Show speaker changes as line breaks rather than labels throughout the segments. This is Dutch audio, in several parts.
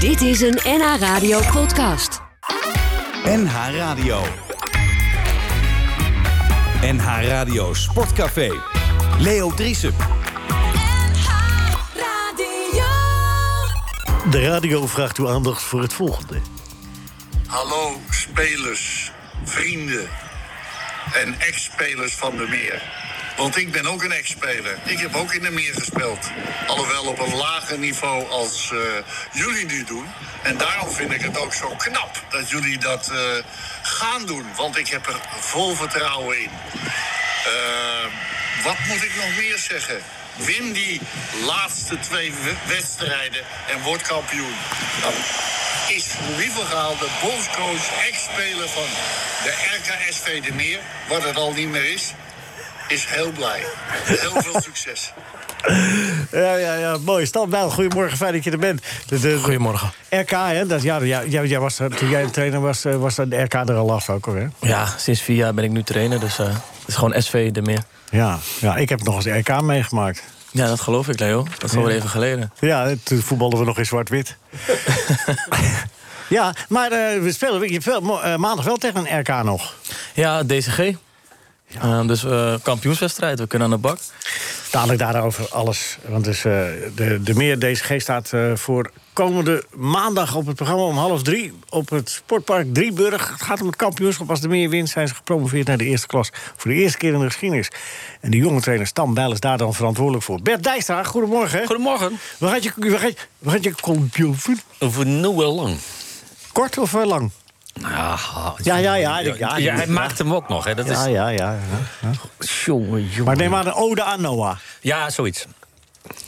Dit is een NH Radio podcast.
NH Radio. NH Radio Sportcafé. Leo Driessen.
De radio vraagt uw aandacht voor het volgende.
Hallo spelers, vrienden en ex-spelers van de meer. Want ik ben ook een ex-speler. Ik heb ook in de meer gespeeld. Alhoewel op een lager niveau als eh, jullie nu doen. En daarom vind ik het ook zo knap dat jullie dat eh, gaan doen. Want ik heb er vol vertrouwen in. Eh, wat moet ik nog meer zeggen? Win die laatste twee we- wedstrijden en word kampioen. Dan is Louis van Gaal de bondscoach, ex-speler van de RKSV de Meer, wat het al niet meer is, is heel blij. Heel veel succes.
Ja, ja, ja, mooi. Standaard, goedemorgen, fijn dat je er bent. De, de-
Goedemorgen.
RK, hè? Dat, ja, ja, jij, jij was, er- toen jij trainer was, eh, was de RK er al af ook hoor. hè?
Ja, sinds vier jaar ben ik nu trainer, dus eh, het is gewoon SV de meer.
Ja, ja, ik heb nog eens RK meegemaakt.
Ja, dat geloof ik, Leo. Dat is alweer even geleden.
Ja, toen voetballen we nog in zwart-wit. ja, maar eh, we spelen we- je speelt mo- eh, maandag wel tegen een RK nog.
Ja, DCG. Eh, dus eh, kampioenswedstrijd, we kunnen aan de bak.
Dadelijk daarover alles. Want dus, eh, de, de meer DCG staat eh, voor komende maandag op het programma om half drie op het Sportpark Drieburg. Het gaat om het kampioenschap. Als de meer wint, zijn ze gepromoveerd naar de eerste klas. Voor de eerste keer in de geschiedenis. En de jonge trainer Stan Bijl is daar dan verantwoordelijk voor. Bert Dijstra, goedemorgen.
Goedemorgen.
Waar gaat je, waar gaat, je- waar gaat je kampioen?
Voor Noel Lang.
Kort of eh, lang?
Ah,
Ja, ja, ja, ja, ja, ja.
hij maakt hem ook nog, hè? Dat
Ja,
is...
ja, ja.
Jongen, jongen.
Maar neem aan een ode aan Noah.
Ja, zoiets.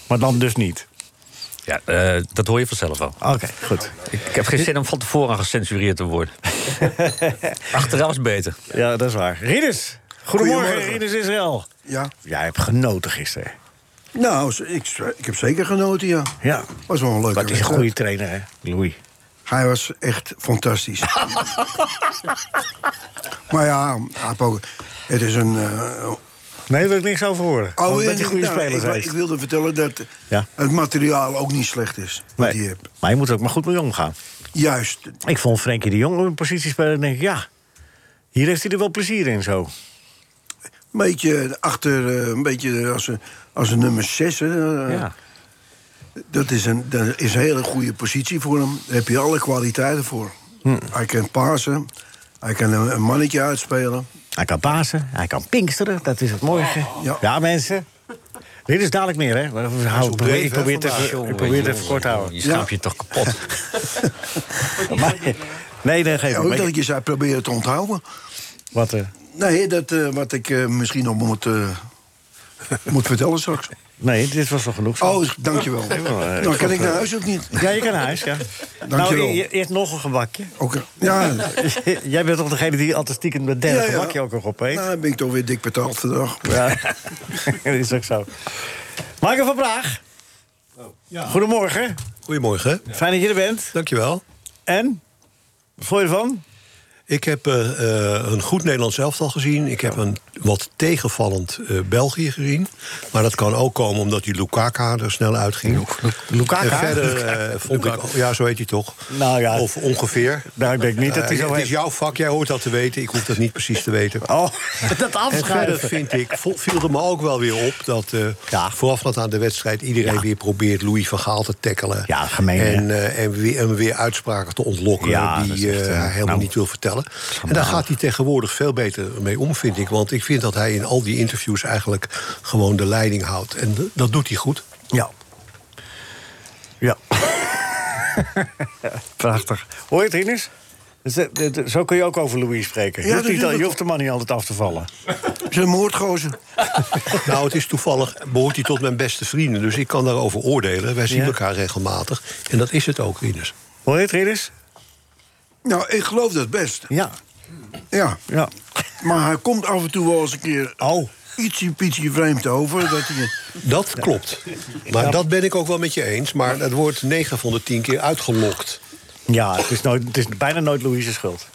Maar dan dus niet.
Ja, eh, dat hoor je vanzelf wel.
Oké, Ah, goed.
Ik, ik heb geen zin om van tevoren gecensureerd te worden. Achteraf is beter.
Ja, dat is waar. Rinus, goedemorgen,
Goedemorgen.
Rinus Israël.
Ja.
Jij hebt genoten gisteren.
Nou, z- ik, ik heb zeker genoten, ja.
Ja.
Was wel een leuke
Dat is een
wedstrijd.
goede trainer, hè, Louis.
Hij was echt fantastisch. maar ja, Apo, het is een... eh,
Nee, daar wil ik niks over horen. Oh, dat hij
eh,
Oh, goede
nou,
spelers
ik,
heeft.
ik wilde vertellen dat
Ja.
het materiaal ook niet slecht is. Wat
Nee,
je hebt.
Maar je moet er ook maar goed mee omgaan.
Juist.
Ik vond Frenkie de Jong op een positie spelen en denk ik, ja... Hier heeft hij er wel plezier in, zo.
Een beetje achter, eh, een beetje als een, als een nummer 6.
Ja.
Dat is, een, dat is een hele goede positie voor hem. Daar heb je alle kwaliteiten voor.
Hm.
Hij kan pasen. Hij kan een, een mannetje uitspelen.
Hij kan pasen, hij kan pinksteren, dat is het mooie. ja.
ja.
mensen. Dit is dadelijk meer, hè? We- we houden-
breed,
ik
hè,
probeer het
vandaag.
even, ik probeer het even kort te houden.
Je schaamt je toch kapot.
Maar- nee, nee, geef
Ja,
maar
ook
ik-
dat ik je zou proberen te onthouden.
Wat eh,
Nee, dat eh, wat ik eh, misschien nog moet, eh, moet vertellen straks.
Nee, dit was wel genoeg. zo.
Oh, dankjewel.
eh,
Dan kan ik naar huis of niet?
Ja, je kan naar huis, ja.
Dankjewel.
Nou, e- eerst nog een gebakje.
Oké. Ja, nou,
Jij bent toch degene die altijd stiekem het derde
Ja, ja.
gebakje ook nog opeet?
dan ben ik toch weer dik betaald vandaag.
Ja, dat is ook zo. Michael van Praag.
Oh,
Goedemorgen.
Goedemorgen,
Fijn dat je er bent.
dankjewel.
En? Wat vond je ervan?
Ik heb eh, eh, een goed Nederlands elftal gezien. Ik heb een wat tegenvallend eh, België gezien. Maar dat kan ook komen omdat die Lukaka er snel uitging.
Lukaku?
En verder eh, vond ik... Ja, zo heet hij toch?
Nou ja.
Of ongeveer.
Nou, ik denk niet dat hij
Eh,
zo
Het
heet.
is jouw vak, jij hoort dat te weten. Ik hoef dat niet precies te weten.
Oh, dat
En verder
afschuiven.
vind ik, vo- viel er me ook wel weer op dat eh
Ja.
voorafgaand aan de wedstrijd iedereen
Ja.
weer probeert Louis van Gaal te tackelen.
Ja, gemeen, hè?
En, eh, en weer, hem weer uitspraken te ontlokken
Ja, dat is
die eh,
echt, eh,
hij helemaal
nou,
niet wil vertellen. En daar gaat hij tegenwoordig veel beter mee om, vind ik. Want ik vind dat hij in al die interviews eigenlijk gewoon de leiding houdt. En eh, dat doet hij goed.
Ja. Ja. Prachtig. Hoor je het, Rinus? Dus, eh, dit- dit- Zo kun je ook over Louis spreken. Je
Ja,
hoeft,
dat
niet,
doe
al-
ik
je hoeft de man niet altijd af te vallen.
Zijn moordgozer.
Nou, het is toevallig, behoort hij tot mijn beste vrienden. Dus ik kan daarover oordelen. Wij zien
Ja.
elkaar regelmatig. En dat is het ook, Rinus.
Hoor je het, Rinus?
Nou, ik geloof dat best.
Ja.
Ja.
ja.
Maar hij komt af en toe wel eens een keer
Oh.
ietsje pietje vreemd over. Dat hij,
Dat klopt. Maar dat ben ik ook wel met je eens. Maar dat wordt 9 van de 10 keer uitgelokt.
Ja, het is, nooit, het is bijna nooit Louise' schuld.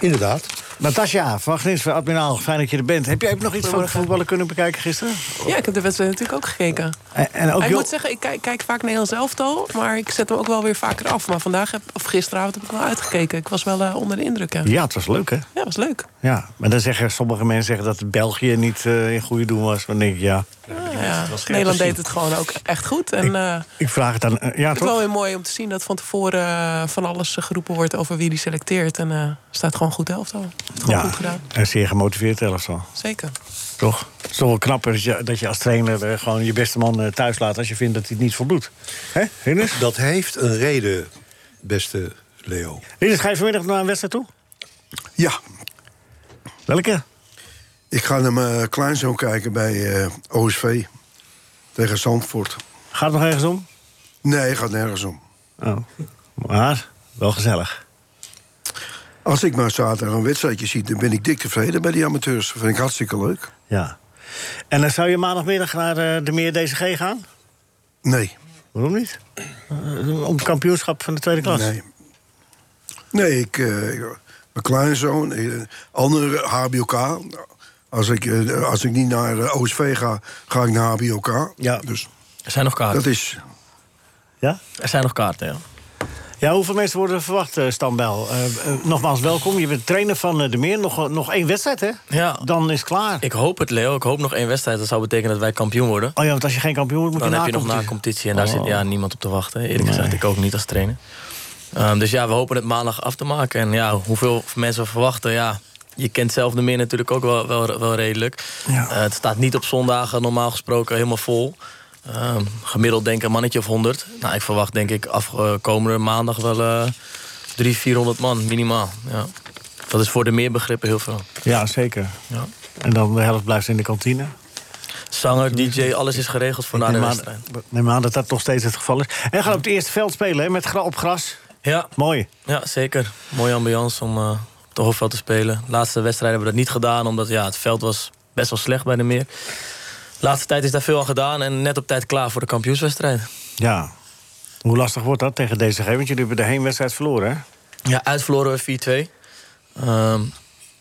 Inderdaad.
Natasja, van Grins, admiraal, fijn dat je er bent. Heb jij ook nog iets van de voetballen kunnen bekijken gisteren?
Ja, ik heb de wedstrijd natuurlijk ook gekeken.
En, en ook
ik
Jo-
moet zeggen, ik kijk, kijk vaak Nederlands elftal, maar ik zet hem ook wel weer vaker af. Maar vandaag, heb, of gisteravond, heb ik wel uitgekeken. Ik was wel eh, onder de indruk. Ja,
Ja, het was leuk, hè?
ja was leuk.
Ja, maar dan zeggen sommige mensen zeggen dat België niet eh, in goede doen was. Dan denk ik, ja.
Ja, Nederland deed het gewoon ook echt goed. En eh,
Ik vraag het dan. eh, ja,
het is wel
toch?
weer mooi om te zien dat van tevoren eh, van alles eh, geroepen wordt over wie die selecteert. En eh, staat gewoon goed elftal. Heeft het gewoon
Ja,
goed gedaan.
en zeer gemotiveerd elftal.
Zeker.
Toch? Het is toch wel knapper dat je, dat je als trainer eh, gewoon je beste man eh, thuis laat... als je vindt dat hij het niet voldoet. Hè, Rinus?
Dat heeft een reden, beste Leo.
Rinus, ga je vanmiddag naar een wedstrijd toe?
Ja,
Welke?
ik ga naar mijn kleinzoon kijken bij eh, OSV tegen Zandvoort.
Gaat het nog ergens om?
Nee, gaat nergens om.
Oh. Maar wel gezellig.
Als ik maar zaterdag een wedstrijdje zie, dan ben ik dik tevreden bij die amateurs. Dat vind ik hartstikke leuk.
Ja. En dan zou je maandagmiddag naar eh, de Meer DCG gaan?
Nee,
Waarom niet? Eh, om kampioenschap van de tweede klas?
nee. Nee, ik, eh, ik- mijn kleinzoon, eh, andere HBOK. Als ik, eh, als ik niet naar eh, OSV ga, ga ik naar HBOK.
Ja.
Dus
Er zijn nog kaarten.
dat is
Ja?
Er zijn nog kaarten, ja.
Ja, hoeveel mensen worden er verwacht, eh Stambel? Eh, eh, nogmaals, welkom. Je bent trainer van eh, de Meer. Nog, nog één wedstrijd, hè?
Ja.
Dan is het klaar.
Ik hoop het, Leo. Ik hoop nog één wedstrijd. Dat zou betekenen dat wij kampioen worden.
Oh ja, want als je geen kampioen wordt, moet
Dan
je Oh.
heb je nog na
nacompetitie.
competitie en daar zit ja, niemand op te wachten. Eerlijk gezegd, ik ook niet als trainer. Ehm, dus ja, we hopen het maandag af te maken. En ja, hoeveel mensen we verwachten, ja. Je kent zelf de meer natuurlijk ook wel, wel, wel redelijk.
Ja.
Eh, het staat niet op zondagen normaal gesproken helemaal vol. Ehm, gemiddeld denk ik een mannetje of 100. Nou, ik verwacht denk ik afkomende maandag wel eh 300, 400 man minimaal. Ja. Dat is voor de meer begrippen heel veel.
Ja, zeker.
Ja.
En dan de helft blijft in de kantine.
Zanger, DJ, alles is geregeld voor na de
neem,
wedstrijd.
aan, neem aan dat dat nog steeds het geval is. En gaan op het eerste veld spelen, hè? Met gra op gras.
Ja,
Mooi.
Ja, zeker. Mooie ambiance om eh, op de Hofveld te spelen. De laatste wedstrijden hebben we dat niet gedaan, omdat ja, het veld was best wel slecht bij de meer. De laatste tijd is daar veel aan gedaan en net op tijd klaar voor de kampioenswedstrijd.
Ja. Hoe lastig wordt dat tegen DCG? Want jullie hebben de heenwedstrijd verloren, hè?
Ja, uitverloren we 4-2. Ehm,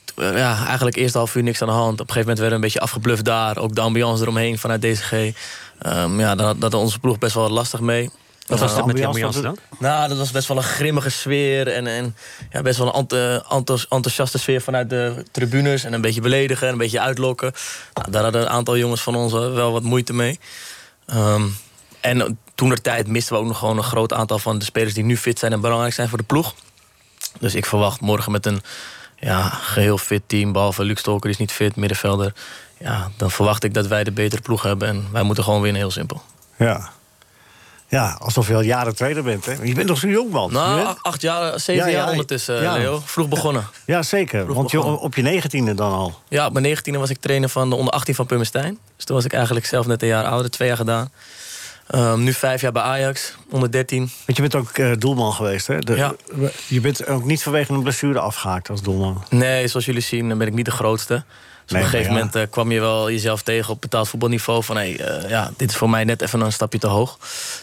t- eh, ja, eigenlijk eerst half uur niks aan de hand. Op een gegeven moment werden we een beetje afgebluft daar. Ook de ambiance eromheen vanuit DCG. Ehm ja, daar had- dat had onze ploeg best wel wat lastig mee.
Wat was
Eh,
dat met die
ambiance,
ambiance
dat-
dan?
Nou, dat was best wel een grimmige sfeer. En, en ja, best wel een ant- eh, enthous- enthousiaste sfeer vanuit de tribunes. En een beetje beledigen, en een beetje uitlokken. Nou, daar hadden een aantal jongens van ons eh, wel wat moeite mee. Ehm, en toen de tijd misten we ook nog gewoon een groot aantal van de spelers die nu fit zijn en belangrijk zijn voor de ploeg. Dus ik verwacht morgen met een ja, geheel fit team, behalve Luke Stolker, die is niet fit, middenvelder. Ja, dan verwacht ik dat wij de betere ploeg hebben. En wij moeten gewoon winnen, heel simpel.
Ja. Ja, alsof je al jaren trainer bent, hè? Je bent nog zo'n jong man.
Nou,
Je bent-
ach- acht jaar, zeven
Ja, ja,
jaar ondertussen,
ja.
Leo. Vroeg begonnen.
Ja, zeker.
Vroeg
Want je,
begonnen.
op je negentiende dan al.
Ja, op mijn negentiende was ik trainer van de onder 18 van Pummestein. Dus toen was ik eigenlijk zelf net een jaar ouder, twee jaar gedaan. Ehm, nu vijf jaar bij Ajax, onder 13.
Want je bent ook eh, doelman geweest, hè? De-
Ja.
Je bent ook niet vanwege een blessure afgehaakt als doelman.
Nee, zoals jullie zien, dan ben ik niet de grootste. Dus
Nee,
op een
maar ja.
gegeven moment eh, kwam je wel jezelf tegen op betaald voetbalniveau. Van hey, eh, ja, dit is voor mij net even een stapje te hoog.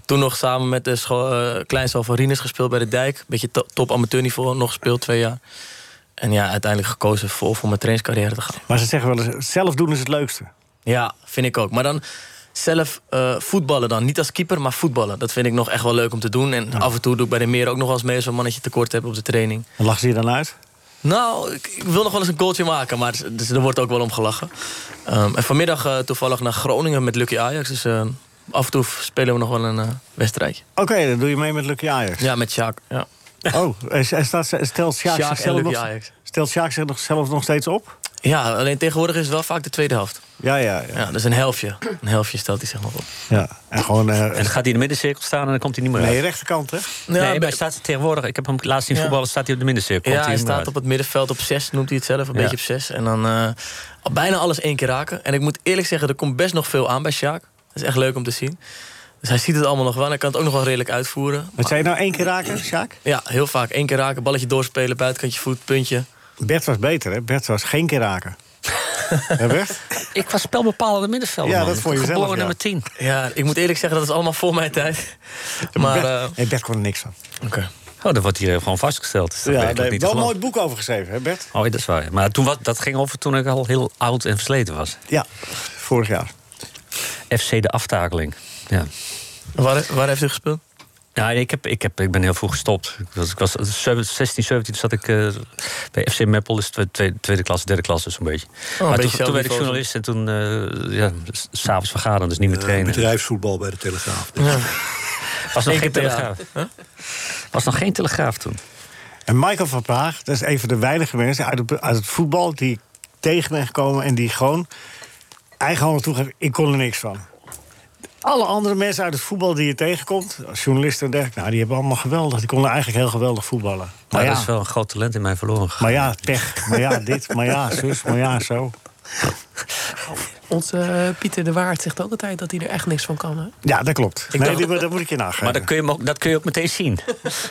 Toen nog samen met de scho- eh, kleinzoon van Rinus gespeeld bij de Dijk. Beetje to- top amateurniveau nog gespeeld, twee jaar. En ja, uiteindelijk gekozen voor, voor mijn trainingscarrière te gaan.
Maar ze zeggen wel eens, zelf doen is het leukste.
Ja, vind ik ook. Maar dan zelf eh, voetballen dan. Niet als keeper, maar voetballen. Dat vind ik nog echt wel leuk om te doen. En af en toe doe ik bij de meer ook nog wel eens mee... als we een mannetje tekort hebben op de training.
En lachen ze je dan uit?
Nou, ik, ik wil nog wel eens een goaltje maken, maar het- dus, er wordt ook wel om gelachen. Ehm, en vanmiddag eh, toevallig naar Groningen met Lucky Ajax. Dus ehm, af en toe spelen we nog wel een eh, wedstrijdje.
Oké, dan doe je mee met Lucky Ajax.
Ja, met Sjaak. Ja.
Oh, en en staat, ze- stelt Sjaak
Sjaak en
zichzelf
Lucky
nog,
Ajax.
stelt Sjaak zichzelf nog steeds op?
ja, alleen tegenwoordig is het wel vaak de tweede helft.
Ja, ja, ja.
Ja, dus een helftje. Een helftje stelt hij zich nog op.
ja. En gewoon... eh,
En dan gaat hij in de middencirkel staan en dan komt hij niet meer
nee,
uit.
rechterkant, hè?
Ja,
nee, maar
bij-
hij staat tegenwoordig. Ik heb hem laatst zien
Ja.
voetballen. Staat hij op de middencirkel?
Ja,
komt
hij
niet meer
staat op
uit.
het middenveld op 6, noemt hij het zelf, een
Ja.
beetje op 6. En dan eh, al bijna alles één keer raken. En ik moet eerlijk zeggen, er komt best nog veel aan bij Sjaak. Dat is echt leuk om te zien. Dus hij ziet het allemaal nog wel en hij kan het ook nog wel redelijk uitvoeren.
Wat zei je nou, één keer raken, Sjaak?
Ja, heel vaak één keer raken, balletje doorspelen, buitenkantje voet, puntje.
Bert was beter, hè? Bert was geen keer raken. Hè, Bert?
Ik was spelbepalende middenvelder.
Ja,
man.
dat
Ik
voor
ben
jezelf,
Geboren
ja.
nummer 10.
Ja, ik moet eerlijk zeggen, dat is allemaal voor mijn tijd. Maar,
Bert,
eh,
nee, Bert kon er niks van.
oké.
Oh, dat wordt hier gewoon vastgesteld. Dus dat
Ja,
ben
daar
ik ook
heb
niet
wel
te
een mooi
geloven.
boek over geschreven, hè Bert?
Oh, dat is waar. Maar toen, wat, dat ging over toen ik al heel oud en versleten was.
Ja, vorig jaar.
FC de aftakeling. Ja.
Waar, waar heeft u gespeeld?
Nou, ik, heb, ik, heb, ik ben heel vroeg gestopt. Ik was, ik was eh, 17, 16, 17 zat ik eh, bij FC Meppel, dus twe- tweede, tweede klas, derde klas, dus een beetje.
Oh,
maar
beetje
toen, toen werd ik
zelfniveau.
journalist en toen eh ja, s- s'avonds vergaderen, dus niet meer
Eh,
trainen.
bedrijfsvoetbal bij de Telegraaf.
was nog
Eén
geen
keer per
telegraaf. Was nog geen telegraaf toen.
En Michael van Praag, dat is een van de weinige mensen uit het, uit het voetbal die ik tegen ben gekomen en die gewoon eigenhandig toegeeft: ik kon er niks van. Alle andere mensen uit het voetbal die je tegenkomt, als journalisten en dergelijke, nou, die hebben allemaal geweldig. Die konden eigenlijk heel geweldig voetballen. Maar
Maar
ja,
dat is wel een groot talent in mij verloren gegaan.
maar ja, tech, maar ja, dit, maar ja, zus, maar ja, zo.
Onze eh, Pieter de Waard zegt ook altijd dat hij er echt niks van kan. Hè?
Ja, dat klopt.
Ik
nee,
dacht-
die- dat moet ik je nageven.
Maar dat kun, je, hem ook- dat kun je ook meteen zien.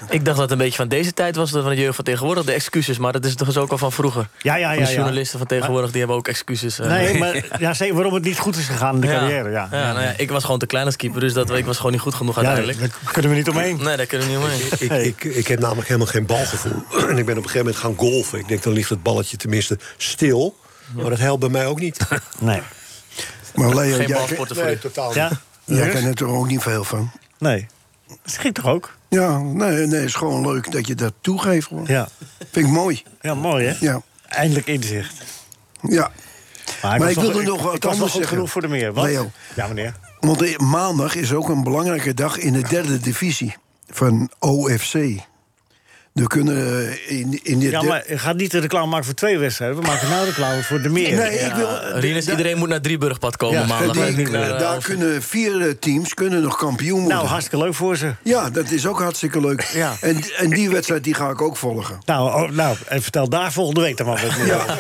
Ik dacht dat het een beetje van deze tijd was, dat van de jeugd van tegenwoordig, de excuses. Maar dat is toch eens ook al van vroeger.
ja, ja,
Van
ja.
de
ja.
journalisten van tegenwoordig, die hebben ook excuses. eh.
Nee, maar ja, zeker waarom het niet goed is gegaan in de carrière. Ja,
Ja, nou ja, ik was gewoon te klein als keeper, dus dat, ik was gewoon niet goed genoeg
ja
uiteindelijk.
daar kunnen we niet omheen.
Nee, daar kunnen we niet omheen.
Ik, ik, ik heb namelijk helemaal geen balgevoel. En ik ben op een gegeven moment gaan golfen. Ik denk, dan ligt het balletje tenminste stil. Maar dat helpt bij mij ook niet.
Nee.
Maar Leo,
Geen
jij,
balsporten voor u.
totaal
Ja?
jij
Joris?
kent er ook niet veel van.
Nee. Dat ging toch ook?
Ja, nee, nee, is gewoon leuk dat je dat toegeeft. hoor.
Ja.
Vind ik mooi.
Ja, mooi hè?
Ja.
Eindelijk inzicht.
Ja.
Maar
ik
was
wilde nog
ik,
wat
ik was wel
anders
goed
zeggen.
genoeg voor de meer. Wat?
Leo.
Ja, meneer.
Want eh, maandag is ook een belangrijke dag in de derde divisie van OFC. Er kunnen eh, in, in de
Ja,
der-
maar je gaat niet de reclame maken voor twee wedstrijden. We maken nou reclame voor de meer.
Nee, ik wil.
Ja, Rinus, iedereen moet naar Drieburgpad komen
Ja,
maandag.
die-
hè?
die-
Naar, eh,
daar
of-
kunnen vier eh, teams kunnen nog kampioen worden.
Nou, hartstikke leuk voor ze.
ja, dat is ook hartstikke leuk.
Ja.
En, en die wedstrijd die ga ik ook volgen.
Nou, oh, nou en vertel daar volgende week dan maar wat meer.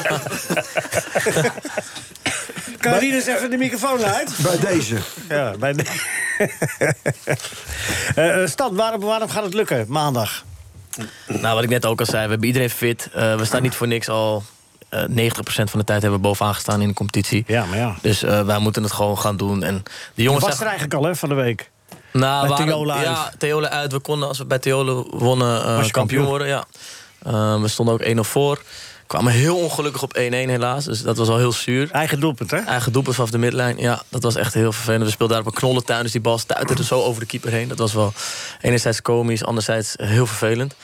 Kan Rien eens even de microfoon uit?
Bij deze.
Ja, bij de... Eh, eh, Stan, waarom, waarom gaat het lukken maandag?
Nou, wat ik net ook al zei, we hebben iedereen fit. Eh, we staan niet voor niks al. eh 90% van de tijd hebben we bovenaan gestaan in de competitie.
Ja, maar ja.
Dus eh, wij moeten het gewoon gaan doen. En de jongens
Was er eigenlijk al hè, van de week?
nou,
bij
waren-
Theola uit?
Ja, Theola uit. We konden, als we bij Theola wonnen, eh, kampioen,
kampioen.
worden. Ja. Eh, we stonden ook 1-0 voor. Kwamen heel ongelukkig op 1-1 helaas. Dus dat was al heel zuur.
Eigen doelpunt, hè?
Eigen doelpunt vanaf de midlijn. Ja, dat was echt heel vervelend. We speelden daar op een knollentuin, dus die bal stuiterde zo over de keeper heen. Dat was wel enerzijds komisch, anderzijds heel vervelend.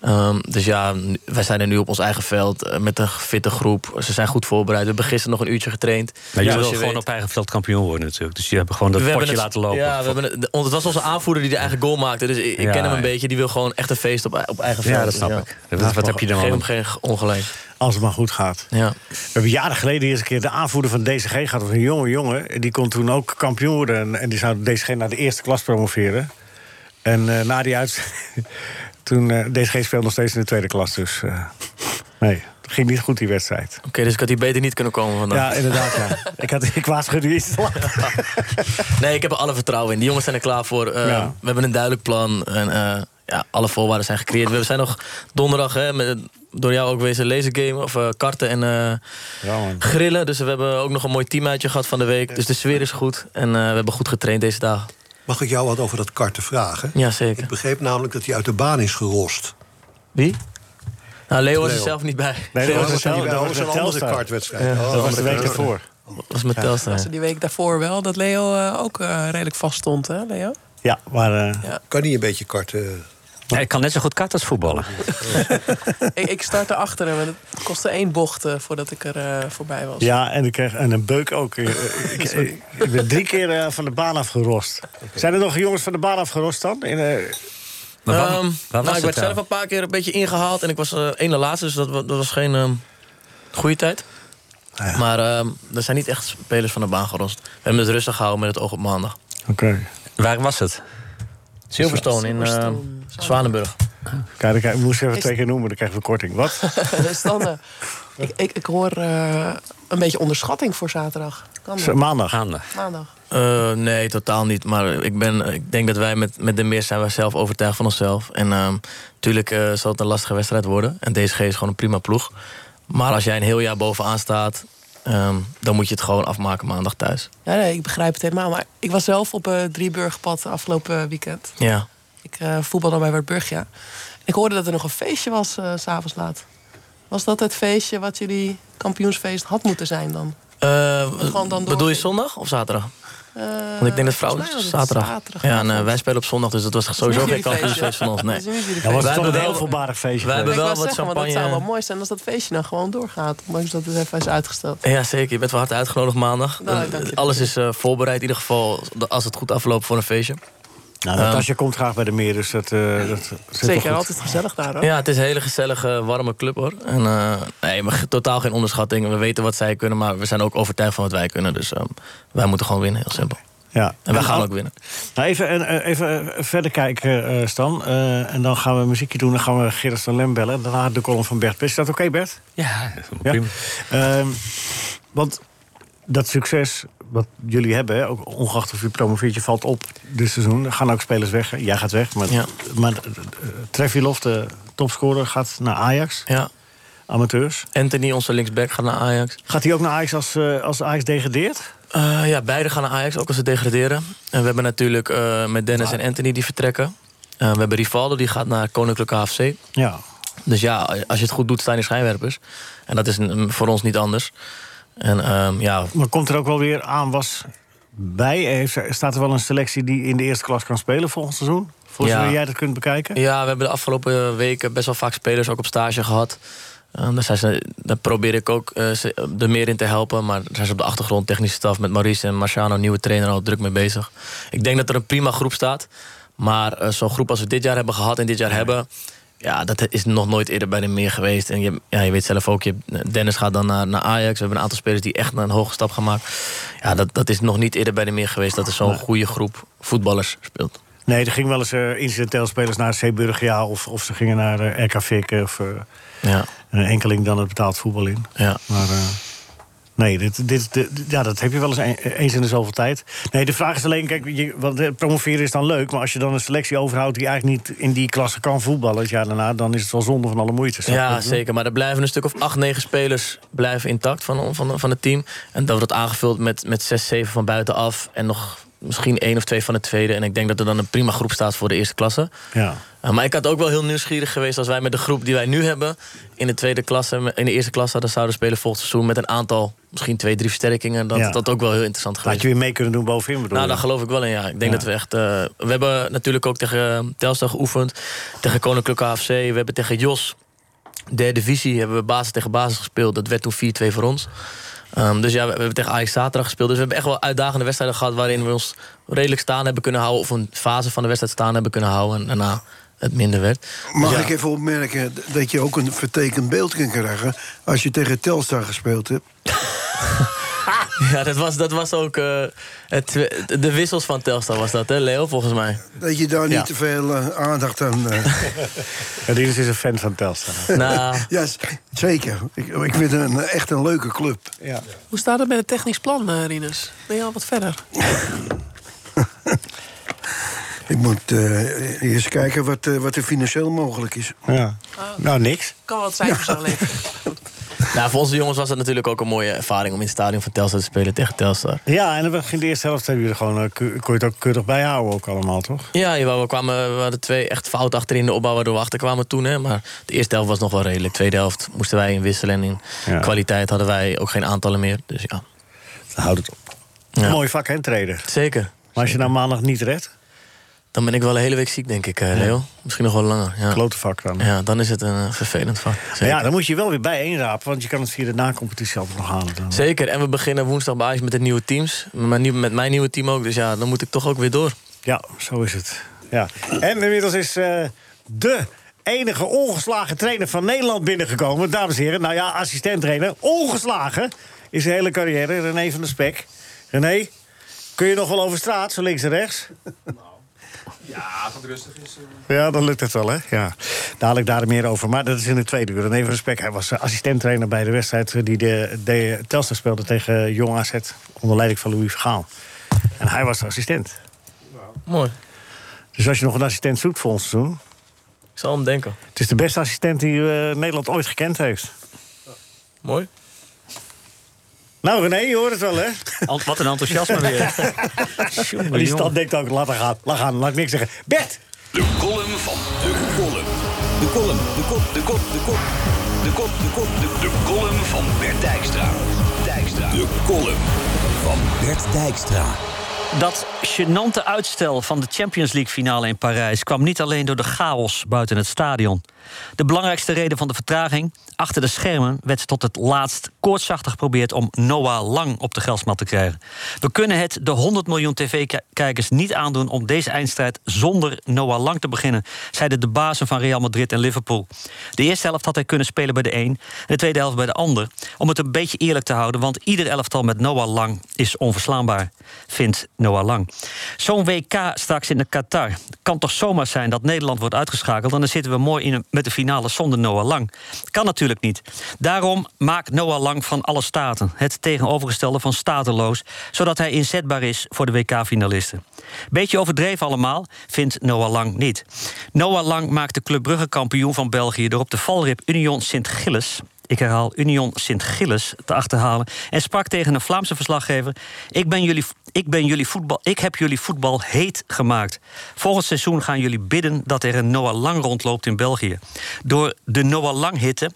Ehm, dus ja, nu- wij zijn er nu op ons eigen veld eh, met een fitte groep. Ze zijn goed voorbereid. We hebben gisteren nog een uurtje getraind.
Maar je
Zoals
wil
je
gewoon
weet.
op eigen veld kampioen worden natuurlijk. Dus je hebt gewoon dat
We hebben
potje
het-
laten lopen.
Ja, we hebben het, de- het was onze aanvoerder die de eigen goal maakte. Dus ik, ik
Ja,
ken hem een
ja.
beetje. Die wil gewoon echt een feest op, op eigen veld.
Ja, dat snap
Dus
ik. Dat- wat heb je dan
Geef hem
aan?
geen ongelijk.
Als het maar goed gaat.
Ja.
We hebben jaren geleden eens een keer de aanvoerder van DCG gehad. Dat was een jonge jongen. En Die kon toen ook kampioen worden. En, en die zou DCG naar de eerste klas promoveren. En eh, na die uit... toen eh DCG speelde nog steeds in de tweede klas. Dus eh, nee, het ging niet goed die wedstrijd.
Oké, dus ik had hier beter niet kunnen komen vandaag.
Ja, inderdaad. Ja. ik, had, ik waarschuwde je iets te laat.
Nee, ik heb er alle vertrouwen in. Die jongens zijn er klaar voor. Eh,
Ja.
We hebben een duidelijk plan. En, eh, ja, alle voorwaarden zijn gecreëerd. We zijn nog donderdag hè, met, door jou ook wezen lasergame. Of eh, karten en eh,
Ja, man.
grillen. Dus we hebben ook nog een mooi teamuitje gehad van de week. Dus de sfeer is goed. En eh, we hebben goed getraind deze dagen.
Mag ik jou wat over dat karten vragen?
Ja,
Ik
zeker.
begreep namelijk dat hij uit de baan is gerost.
Wie? Nou, Leo was er
Leo.
zelf niet bij.
Nee, dat
Oh,
was een
dat
tel- dat was
was
een
een andere
Telstar.
Eh,
kartwedstrijd. Oh,
Dat was
andere
de week
kartwedstrijd.
ervoor.
was met Telstra.
eh.
Die week daarvoor wel, dat Leo eh, ook eh, redelijk vast stond, hè, Leo?
Ja, maar... eh,
Kan hij een beetje karten?
Ja, ik kan net zo goed kat als voetballen.
ik, ik start erachter hem en het kostte één bocht eh, voordat ik er eh, voorbij was.
Ja, en ik kreeg en een beuk ook. Ik, ik- ik ben drie keer eh, van de baan afgerost. Zijn er nog jongens van de baan afgerost dan? In, eh,
Maar waar, waar
Ehm,
was
nou, ik
het
werd
dan?
zelf een paar keer een beetje ingehaald. En ik was eh één na laatste, dus dat, wa- dat was geen ehm, goede tijd. Maar ehm, er zijn niet echt spelers van de baan gerost. We hebben het rustig gehouden met het oog op maandag.
Oké.
Waar was het?
Silverstone in ehm, Zwanenburg.
Kijk, ik moest even
Is-
twee keer noemen, dan krijgen we korting. Wat?
Standen. Dus eh, ik, ik, ik hoor eh, een beetje onderschatting voor zaterdag. Kan dat?
Maandag.
Gaande.
Maandag.
Eh, nee, totaal niet. Maar ik, ben, ik denk dat wij met, met de meer zijn wij zelf overtuigd van onszelf. En natuurlijk zal het een lastige wedstrijd worden. En DSG is gewoon een prima ploeg. Maar als jij een heel jaar bovenaan staat, ehm, dan moet je het gewoon afmaken maandag thuis.
Nee, nee, ik begrijp het helemaal. Maar ik was zelf op eh Drieburgpad afgelopen weekend.
Ja.
Ik eh voetbalde bij Wartburgia. Ik hoorde dat er nog een feestje was, eh, s s'avonds laat. Was dat het feestje wat jullie kampioensfeest had moeten zijn dan?
Eh,
Gewoon dan
bedoel je
doorgaan.
zondag of zaterdag?
Eh,
Want ik denk dat vrouwen
volgens mij was het
zaterdag.
zaterdag.
ja, en, eh, wij spelen op zondag, dus dat was sowieso
niet
geen
jullie feestje.
kampioensfeest van ons. Nee.
Dat is niet jullie
Dat was
Wij
het toch
hebben
een
wel-
heel voorbarig feestje.
wij
geweest.
hebben
ik
wel
wou
wat
zeggen, want dat zou wel
champagne.
mooi zijn als dat feestje dan gewoon doorgaat. Ondanks dat het even is uitgesteld.
Ja, zeker. Je bent van harte uitgenodigd maandag.
Nou,
Eh,
dank je.
Alles is eh, voorbereid, in ieder geval als het goed afloopt voor een feestje. Ehm,
Nou, Natasja komt graag bij de meer, dus dat, eh dat zit toch goed.
Zeker, altijd gezellig daar hoor.
Ja, het is een hele gezellige, warme club hoor. En, eh, nee, maar ge- totaal geen onderschatting. We weten wat zij kunnen, maar we zijn ook overtuigd van wat wij kunnen. Dus eh, wij moeten gewoon winnen, heel simpel.
Ja.
En wij gaan ook winnen.
Nou, even, en, eh, even eh, verder kijken, eh, Stan. Eh, en dan gaan we muziekje doen. Dan gaan we Gerrit van Lem bellen. Daarna de column van Bert. Is dat oké, Bert?
Ja,
Ja.
prima.
Ehm, want dat succes wat jullie hebben, hè, ook ongeacht of je promoveert, je valt op dit seizoen. Er gaan ook spelers weg. hè. Jij gaat weg. Maar,
Ja.
maar eh, Treffilof, de topscorer, gaat naar Ajax.
Ja.
Amateurs.
Anthony, onze linksback, gaat naar Ajax.
Gaat hij ook naar Ajax als, eh, als Ajax degradeert?
Eh, ja, beide gaan naar Ajax, ook als ze degraderen. En we hebben natuurlijk eh, met Dennis en Anthony die vertrekken. Eh, we hebben Rivaldo, die gaat naar Koninklijke AFC.
Ja.
Dus ja, als je het goed doet, sta je in de schijnwerpers. En dat is mm, voor ons niet anders. En ehm, ja,
Maar komt er ook wel weer aanwas bij? Heeft er- Staat er wel een selectie die in de eerste klas kan spelen volgend seizoen? Voor
Ja.
zover jij dat kunt bekijken?
Ja, we hebben de afgelopen weken best wel vaak spelers ook op stage gehad. Ehm, daar, zijn ze, daar probeer ik ook eh, ze er meer in te helpen. Maar daar zijn ze op de achtergrond, technische staf met Maurice en Marciano, nieuwe trainer, al druk mee bezig. Ik denk dat er een prima groep staat. Maar eh, zo'n groep als we dit jaar hebben gehad en dit jaar hebben. Ja, dat is nog nooit eerder bij de meer geweest. En je, ja, je weet zelf ook, je, Dennis gaat dan naar, naar Ajax. We hebben een aantal spelers die echt naar een hoge stap gaan maken. Ja, dat, dat is nog niet eerder bij de meer geweest dat er zo'n goede groep voetballers speelt.
Nee, er gingen wel eens eh, incidenteel spelers naar Zeeburg, ja. Of, of ze gingen naar eh, RK Vik of eh,
Ja,
een enkeling dan het betaald voetbal in.
ja.
Maar eh, nee, dit, dit, dit- ja, dat heb je wel eens een- eh, eens in de zoveel tijd. Nee, de vraag is alleen, kijk, je, want eh, promoveren is dan leuk... maar als je dan een selectie overhoudt die eigenlijk niet in die klasse kan voetballen... het jaar daarna, dan is het wel zonde van alle moeite. snap je wat ik
Ja,
bedoel?
zeker. Maar er blijven een stuk of acht, negen spelers blijven intact van, van, van het team. En dat wordt aangevuld met, met zes, zeven van buitenaf. En nog misschien één of twee van de tweede. En ik denk dat er dan een prima groep staat voor de eerste klasse.
Ja.
Uh, maar ik had ook wel heel nieuwsgierig geweest als wij met de groep die wij nu hebben... in de tweede klasse, in de eerste klasse hadden zouden spelen volgend seizoen... met een aantal, misschien twee, drie versterkingen. Dat
Ja.
dat ook wel heel interessant geweest.
Laat je weer mee kunnen doen bovenin, bedoel
Nou,
je?
daar geloof ik wel in, ja. Ik denk
Ja.
dat we echt... eh, we hebben natuurlijk ook tegen eh, Telstar geoefend. Tegen Koninklijke AFC. We hebben tegen Jos, derde divisie, hebben we basis tegen basis gespeeld. Dat werd toen 4-2 voor ons. Ehm, dus ja, we, we hebben tegen Ajax zaterdag gespeeld. Dus we hebben echt wel uitdagende wedstrijden gehad... waarin we ons redelijk staan hebben kunnen houden... of een fase van de wedstrijd staan hebben kunnen houden. En daarna het minder werd.
Mag
Ja.
ik even opmerken dat je ook een vertekend beeld kunt krijgen... als je tegen Telstar gespeeld hebt.
Ja, dat was, dat was ook... eh, het, twe- de wissels van Telstar was dat, hè, Leo, volgens mij.
Dat je daar
Ja.
niet te veel eh, aandacht aan... eh,
Ja, Rinus Dus is een fan van Telstra.
Nou,
ja, z- zeker. Ik, ik vind het een, echt een leuke club.
Ja.
Hoe staat het met het technisch plan, eh, Rinus? Ben je al wat verder?
Ik moet eh, eerst kijken wat, eh, wat er financieel mogelijk is.
ja. Nou, niks.
Kan wel wat cijfers aanleveren.
nou, voor onze jongens was dat natuurlijk ook een mooie ervaring... om in het stadion van Telstar te spelen tegen Telstar.
Ja, en dan begin de eerste helft hebben jullie gewoon, eh, ku- kon je het ook keurig bijhouden ook allemaal, toch?
Ja, jawel, we, kwamen, we hadden twee echt fouten achterin in de opbouw... waardoor we achterkwamen toen. Hè. Maar de eerste helft was nog wel redelijk. De tweede helft moesten wij inwisselen. En in
Ja.
kwaliteit hadden wij ook geen aantallen meer. Dus ja,
Houd het op.
Ja.
Mooi vak, hè, traden.
zeker.
Maar als je nou maandag niet redt,
Dan ben ik wel een hele week ziek, denk ik, eh, Leo. Misschien nog wel langer. Ja,
klote vak dan.
ja dan is het een eh, vervelend vak. Zeker.
Maar ja, dan moet je wel weer bijeenrapen, want je kan het via de nacompetitie altijd nog halen. Dan.
Zeker, en we beginnen woensdag bij Ajax met de nieuwe teams. Met mijn, nieuw- met mijn nieuwe team ook, dus ja, dan moet ik toch ook weer door.
Ja, zo is het. Ja. En inmiddels is eh, de enige ongeslagen trainer van Nederland binnengekomen. Dames en heren, nou ja, assistent-trainer. Ongeslagen is zijn hele carrière. René van der Spek. René, kun je nog wel over straat, zo links en rechts? Ja, dan lukt het wel, hè? Ja. Dadelijk daar meer over. Maar dat is in de tweede uur. En even respect. Hij was eh, assistent-trainer bij de wedstrijd eh, die de, de Telstar speelde tegen Jong AZ. Onder leiding van Louis Vergaal. En hij was de assistent.
Mooi.
Dus als je nog een assistent zoekt voor ons te doen...
Ik zal hem denken.
Het is de beste assistent die eh, Nederland ooit gekend heeft.
Mooi.
Nou, René, je hoort het wel, hè?
Ant- Wat een enthousiasme weer. Tjonge,
Maar
jonge.
die stad denkt ook, laat maar gaan, laat gaan, laat ik niks zeggen. Bert,
De column van de kolom. De kolom, de kop, de kop, de kop. De kop, de kop, de De column van Bert Dijkstra. Dijkstra. De column van Bert Dijkstra.
Dat gênante uitstel van de Champions League finale in Parijs kwam niet alleen door de chaos buiten het stadion. De belangrijkste reden van de vertraging, achter de schermen werd tot het laatst koortsachtig geprobeerd om Noah Lang op de geldsmat te krijgen. We kunnen het de 100 miljoen tv-kijkers niet aandoen om deze eindstrijd zonder Noah Lang te beginnen, zeiden de bazen van Real Madrid en Liverpool. De eerste helft had hij kunnen spelen bij de een, de tweede helft bij de ander. Om het een beetje eerlijk te houden, want ieder elftal met Noah Lang is onverslaanbaar, vindt Noah Lang. Zo'n WK straks in de Qatar. Kan toch zomaar zijn dat Nederland wordt uitgeschakeld en dan zitten we mooi in een- met de finale zonder Noah Lang. Kan natuurlijk niet. Daarom maakt Noah Lang van alle staten het tegenovergestelde van stateloos, zodat hij inzetbaar is voor de WK-finalisten. Beetje overdreven allemaal, vindt Noah Lang niet. Noah Lang maakt de Club Brugge kampioen van België door op de valrip Union Sint-Gilles ik herhaal Union Sint-Gilles te achterhalen. En sprak tegen een Vlaamse verslaggever: ik, ben jullie, ik, ben jullie voetbal, ik heb jullie voetbal heet gemaakt. Volgend seizoen gaan jullie bidden dat er een Noah Lang rondloopt in België. Door de Noah Lang-hitte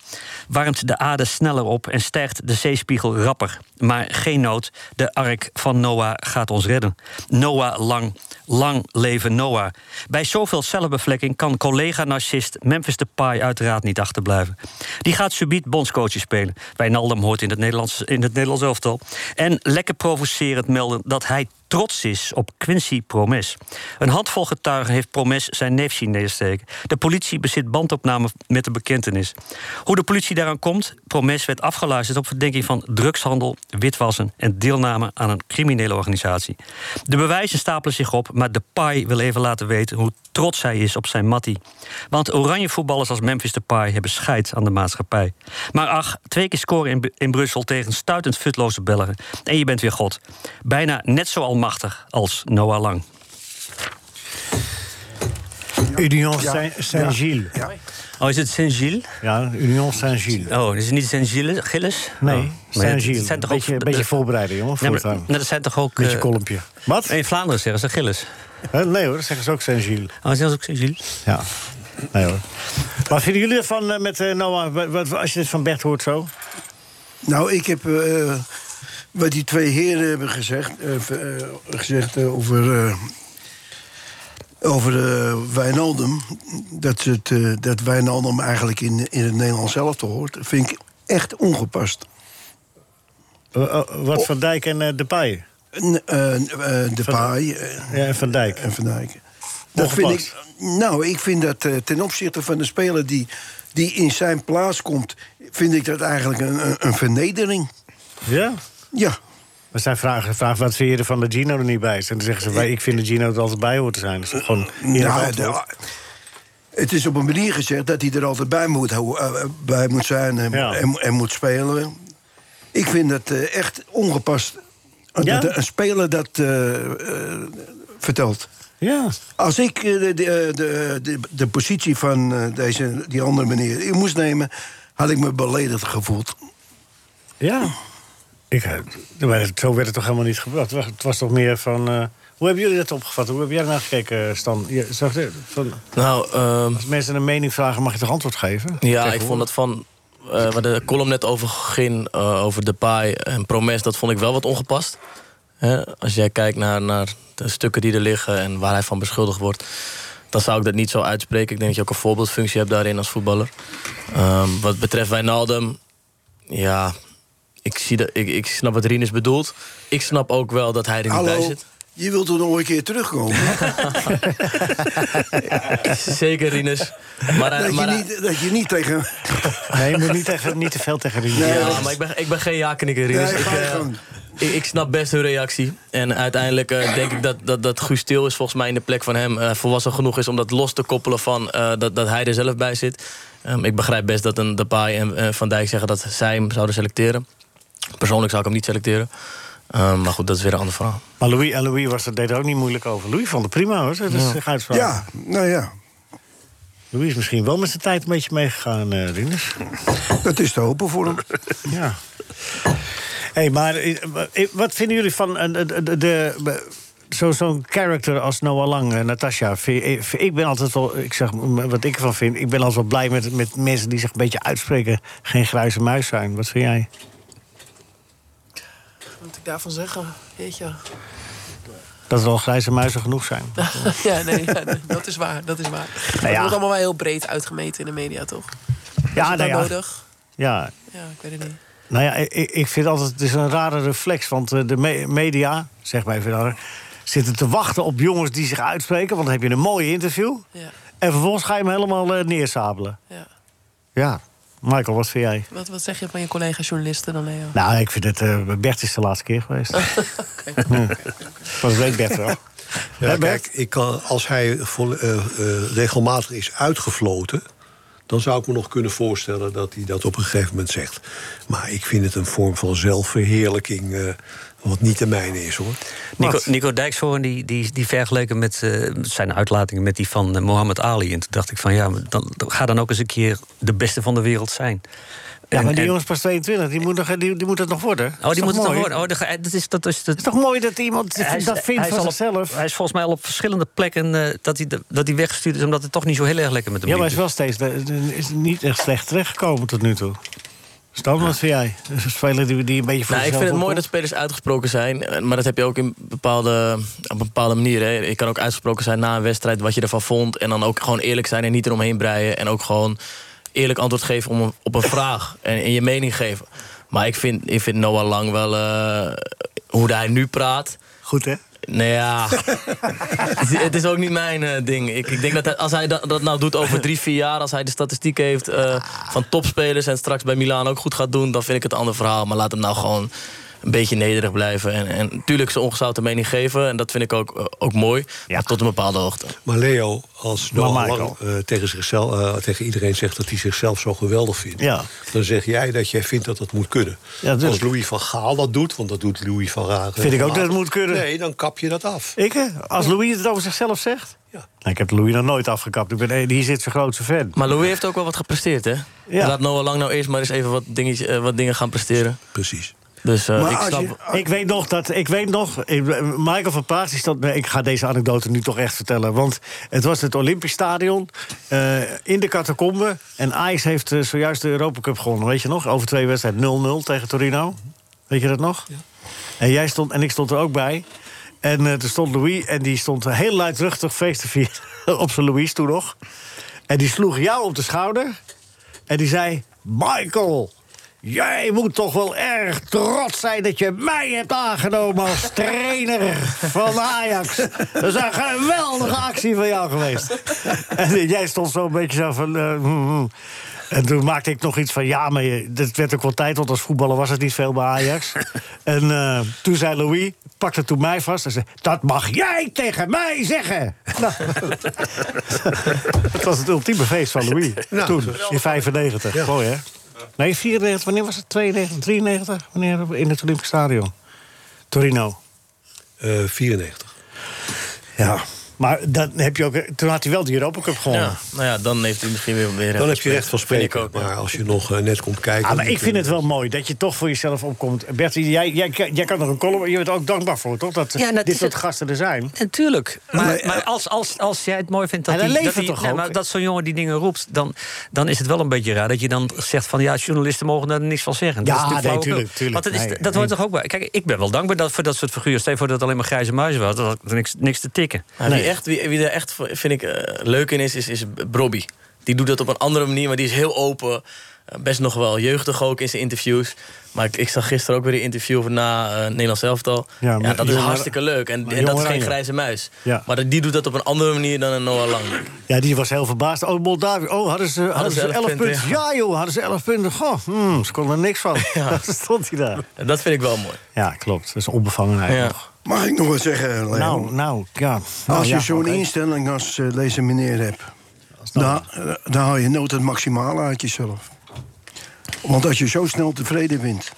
warmt de aarde sneller op en stijgt de zeespiegel rapper. Maar geen nood, de ark van Noah gaat ons redden. Noah Lang, lang leven Noah. Bij zoveel cellenbevlekking kan collega-narcist Memphis Depay uiteraard niet achterblijven. Die gaat subiet bondscoachje spelen. Wijnaldum hoort in het Nederlands, in het Nederlands elftal. En lekker provocerend melden dat hij trots is op Quincy Promes. Een handvol getuigen heeft Promes zijn neef zien neersteken. De politie bezit bandopname met de bekentenis. Hoe de politie daaraan komt? Promes werd afgeluisterd op verdenking van drugshandel, witwassen en deelname aan een criminele organisatie. De bewijzen stapelen zich op, maar Depay wil even laten weten hoe trots hij is op zijn mattie. Want oranje voetballers als Memphis Depay hebben scheid aan de maatschappij. Maar ach, twee keer scoren in, Bu- in Brussel tegen stuitend futloze Belgen. En je bent weer God. Bijna net zo almachtig als Noah Lang.
Union
Ja,
Saint-
ja,
Saint-Gilles.
Oh, is het Saint-Gilles?
Ja, Union Saint-Gilles.
Oh, is het niet Saint-Gilles? Gilles?
Nee,
Oh. Maar
Saint-Gilles.
het zijn toch
Beetje-
ook-
beetje voorbereiden, jongen,
Nee, maar,
voortaan.
maar dat zijn toch ook...
Met je
eh,
kolompje. Wat?
In Vlaanderen zeggen ze Gilles.
Hè, Nee hoor, dat zeggen ze ook Saint-Gilles.
Oh, zeggen ze ook Saint-Gilles?
Ja. Nee hoor. Wat vinden jullie ervan eh, met eh, Noah? Wat- wat- als je dit van Bert hoort zo?
Nou, ik heb eh, wat die twee heren hebben gezegd, eh, v- eh, gezegd eh, over, eh, over eh, Wijnaldum. Dat, ze het, eh, dat Wijnaldum eigenlijk in, in het Nederlands zelf te hoort, vind ik echt ongepast.
Eh, wat Van Dijk en De Depay?
eh, de Paai.
Ja, en Van Dijk.
eh, En Van Dijk. Dat vind ik, nou, ik vind dat eh, ten opzichte van de speler die, die in zijn plaats komt... vind ik dat eigenlijk een, een, een vernedering.
Ja?
Ja.
Maar zij vragen, vragen wat vind je ervan dat Gino er niet bij is? En dan zeggen ze, wij- ik vind dat Gino er altijd bij hoort te zijn. Dat is gewoon eerlijk
Nou,
antwoord.
de- het is op een manier gezegd dat hij er altijd bij moet, hou- eh, bij moet zijn en, en, en moet spelen. Ik vind dat eh, echt ongepast. eh,
Ja?
dat een speler dat eh, eh, vertelt.
Ja.
Als ik eh, de, de, de, de, de positie van eh, deze, die andere meneer in moest nemen, had ik me beledigd gevoeld.
Ja. Ik, eh, maar zo werd het toch helemaal niet gebracht. Het was, het was toch meer van... eh, hoe hebben jullie dat opgevat? Hoe heb jij ernaar gekeken, eh, Stan? Je, zag je- van,
Nou, ehm,
als mensen een mening vragen, mag je toch antwoord geven?
Ja, ik vond dat van. eh, waar de column net over ging, eh, over Depay en Promes, dat vond ik wel wat ongepast. Hè, als jij kijkt naar, naar de stukken die er liggen en waar hij van beschuldigd wordt, dan zou ik dat niet zo uitspreken. Ik denk dat je ook een voorbeeldfunctie hebt daarin als voetballer. Ehm, wat betreft Wijnaldum, ja, ik, zie dat, ik, ik snap wat Rinus bedoelt. Ik snap ook wel dat hij er niet bij
Hallo,
zit.
je wilt er nog een keer terugkomen.
Zeker Rinus. Maar, hij-
dat,
maar
je
hij-
niet, dat je niet tegen...
Nee, je moet niet, tegen, niet te veel tegen die...
ja, maar ik ben, ik ben geen ja-knikker, Rinus. ik, eh, ik, ik snap best hun reactie. En uiteindelijk eh, denk ik dat, dat, dat Guus Til is volgens mij in de plek van hem eh, volwassen genoeg is om dat los te koppelen van eh, dat, dat hij er zelf bij zit. Ehm, ik begrijp best dat een Depay en eh, Van Dijk zeggen dat zij hem zouden selecteren. Persoonlijk zou ik hem niet selecteren. Ehm, maar goed, dat is weer een ander verhaal.
Maar Louis en Louis was, dat deed er ook niet moeilijk over. Louis vond het prima hoor, dat is
Ja.
zich uitspraak.
Ja, nou ja.
Louis is misschien wel met zijn tijd een beetje meegegaan, eh Rinus.
Dat is te hopen voor hem.
Ja. Hé, hey, maar eh, eh, wat vinden jullie van eh, de, de, de, zo- zo'n character als Noah Lang, eh, Natasja. vind je- vind- Ik ben altijd wel, ik zeg m- wat ik ervan vind, ik ben altijd wel blij met, met mensen die zich een beetje uitspreken. Geen grijze muis zijn. Wat vind jij?
Wat moet ik daarvan zeggen? Jeetje.
Dat er al grijze muizen genoeg zijn.
ja, nee, ja, nee, dat is waar. Dat is waar.
Nou ja.
Het wordt allemaal wel heel breed uitgemeten in de media, toch?
Ja,
is het
nou
dan
ja.
nodig?
Ja,
Ja, ik weet het niet.
Nou ja, ik, ik vind altijd, het is een rare reflex. Want eh, de me- media, zeg maar even daar, zitten te wachten op jongens die zich uitspreken. Want dan heb je een mooi interview.
Ja.
En vervolgens ga je hem helemaal eh neersabelen.
Ja.
Ja. Michael, wat vind jij?
Wat, wat zeg je van je collega-journalisten dan, Leo?
Nou, ik vind het... eh, Bert is de laatste keer geweest. Ja. Was weet Bert wel.
Ja,
Hè, Bert?
kijk, ik kan, als hij vol- eh, eh, regelmatig is uitgefloten... dan zou ik me nog kunnen voorstellen dat hij dat op een gegeven moment zegt. Maar ik vind het een vorm van zelfverheerlijking... eh, wat niet de mijne is, hoor.
Nico, Nico Dijkshoorn die, die, die vergeleken met eh, zijn uitlatingen met die van eh, Mohammed Ali. En toen dacht ik van ja, maar dan, dan- ga dan ook eens een keer de beste van de wereld zijn.
Ja,
En-
maar die
en-
jongens pas 22, die moet, nog, eh, die, die moet het nog worden.
Oh, die moet het nog
mooi?
worden. Oh, dat, dat is, dat is,
Het is toch mooi dat iemand dat vindt
hij is
van
al op-
zichzelf?
hij is volgens mij al op verschillende plekken eh, dat, hij, de- dat hij weggestuurd is... omdat het toch niet zo heel erg lekker met hem
Ja, maar hij
liep.
is wel steeds
dus.
de- de- is niet echt slecht terechtgekomen tot nu toe. Stam, wat vind jij? Een speler die, die een beetje voor
Nou, ik vind
zichzelf
het mooi dat
opkomt?
spelers uitgesproken zijn. eh, Maar dat heb je ook in bepaalde, op een bepaalde manier. Hè. Je kan ook uitgesproken zijn na een wedstrijd wat je ervan vond. En dan ook gewoon eerlijk zijn en niet eromheen breien. En ook gewoon eerlijk antwoord geven om, een- op een vraag. En, en je mening geven. Maar ik vind, ik vind Noah Lang wel... eh, hoe hij nu praat...
Goed, hè?
Nou ja, het is- het is ook niet mijn eh, ding. Ik, ik denk dat hij- als hij dat, dat nou doet over drie, vier jaar... als hij de statistiek heeft eh, van topspelers... en straks bij Milaan ook goed gaat doen... dan vind ik het een ander verhaal. Maar laat hem nou gewoon een beetje nederig blijven. En, en natuurlijk zijn ongezouten mening geven. En dat vind ik ook, eh, ook mooi. Maar tot een bepaalde hoogte.
Maar Leo, als
Maar
Noah
Michael.
Lang eh, tegen, zichzelf, eh, tegen iedereen zegt dat hij zichzelf zo geweldig vindt...
Ja.
dan zeg jij dat jij vindt dat dat moet kunnen.
Ja, natuurlijk.
als Louis van Gaal dat doet, want dat doet Louis van Gaal...
Vind ik ook dat het moet kunnen.
Nee, dan kap je dat af.
Ik, hè? Als Louis het over zichzelf zegt?
Ja.
Nou, ik heb Louis nog nooit afgekapt. Ik ben, eh, hier zit zijn grootste fan.
Maar Louis heeft ook wel wat gepresteerd, hè?
Ja.
Laat Noah Lang nou eerst maar eens even wat, dingetje, eh, wat dingen gaan presteren.
Precies.
Dus eh,
Maar
ik
als
snap...
je-
Ik weet nog dat, ik weet nog, ik- Michael van Praag die stond, nee, ik ga deze anekdote nu toch echt vertellen. Want het was het Olympisch Stadion eh, in de catacombe. En Ajax heeft eh, zojuist de Europa Cup gewonnen, weet je nog? Over twee wedstrijden 0-0 tegen Torino. Weet je dat nog? En jij stond, en ik stond er ook bij. En eh, er stond Louis, en die stond heel luidruchtig feest te vieren op zijn Louis toen nog. En die sloeg jou op de schouder. En die zei: Michael, jij moet toch wel erg trots zijn dat je mij hebt aangenomen als trainer van Ajax. Dat is een geweldige actie van jou geweest. En jij stond zo'n beetje zo van. eh, hmm, hmm. En toen maakte ik nog iets van, ja, maar je- dat werd ook wel tijd... want als voetballer was het niet veel bij Ajax. en eh, toen zei Louis, pakte toen mij vast en zei... dat mag jij tegen mij zeggen! Nou, het was het ultieme feest van Louis, toen, in 95. Mooi, hè? Nee, 94, wanneer was het? 92, 93? Wanneer in het Olympisch Stadion? Torino.
Eh, 94.
Ja. Maar dan heb je ook, toen had hij wel de Europa Cup gewonnen.
Ja, nou ja, dan heeft hij misschien weer... weer
Dan heb je recht van
Vind ik
spreken.
ook, ja.
maar als je nog eh, net komt kijken...
Ah, maar
dan
ik vind het wel mooi dat je toch voor jezelf opkomt. Bertie, jij, jij, jij kan nog een column. Je bent er ook dankbaar voor, toch? Dat
Ja, dat
dit
is
soort
het.
gasten er zijn.
Natuurlijk. Maar,
eh,
maar als, als, als jij het mooi vindt dat,
En dat
die- dat,
levert
die-
toch
nee,
ook?
maar dat zo'n jongen die dingen roept, dan, dan is het wel een beetje raar dat je dan zegt van ja, journalisten mogen daar niks van zeggen.
Ja,
dat is natuurlijk
nee,
flauwekul.
tuurlijk, tuurlijk.
Want dat, is,
Nee,
dat hoort toch ook bij. Kijk, ik ben wel dankbaar dat, voor dat soort figuren. Stel je voor dat het alleen maar grijze muizen was, dat had ik niks, niks te tikken.
Maar Nou, Wie, echt, wie, wie er echt, vind ik, eh, leuk in is, is, is Brobby. Die doet dat op een andere manier, maar die is heel open. Eh, best nog wel jeugdig ook in zijn interviews. Maar ik, ik zag gisteren ook weer een interview van na eh Nederlands Elftal.
Ja,
Ja,
maar-
dat is
maar-
hartstikke leuk. En,
maar
en dat
Jong
is geen
Oranje.
grijze muis.
Ja.
Maar dat- die doet dat op een andere manier dan een Noah Lang.
Ja, die was heel verbaasd. Oh, Moldavië. Oh, hadden ze, hadden ze 11 punten. Ja. joh, hadden ze 11 punten. Goh, hmm, ze konden er niks van. Dat stond hij daar.
En dat vind ik wel mooi.
Ja, klopt. Dat is onbevangenheid.
Ja.
nog.
Mag ik nog wat zeggen, Leo?
Nou, nou, ja. Nou,
als je
ja,
zo'n
oké.
instelling als eh, deze meneer hebt, dan, dan haal je nooit het maximale uit jezelf. Want als je zo snel tevreden bent,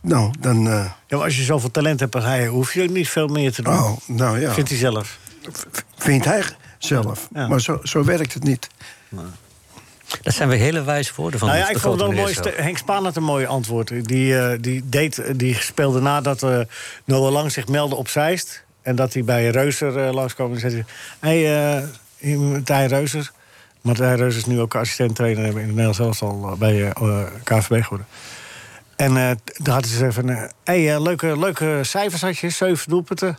nou, dan. eh,
Ja, maar als je zoveel talent hebt als hij, hoef je ook niet veel meer te doen.
oh, nou ja.
Vindt hij zelf.
vindt hij zelf.
Ja.
Maar zo, zo werkt het niet.
Dat zijn weer hele wijze woorden van
Nou ja,
de
ik vond het wel
grote
een mooi.
meneer
ste- Henk Spaan had een mooi antwoord. Die, eh, die, deed, die speelde nadat eh Noah Lang zich meldde op Zeist. En dat hij bij Reuser eh, langskwam en zei hij... Hé, hey, eh, Martijn Reuser. Martijn Reuser is nu ook assistent-trainer in het Nederlands elftal bij eh, KVB geworden. En eh toen hadden ze even... Hé, hey, eh, leuke, leuke cijfers had je, zeven doelpunten.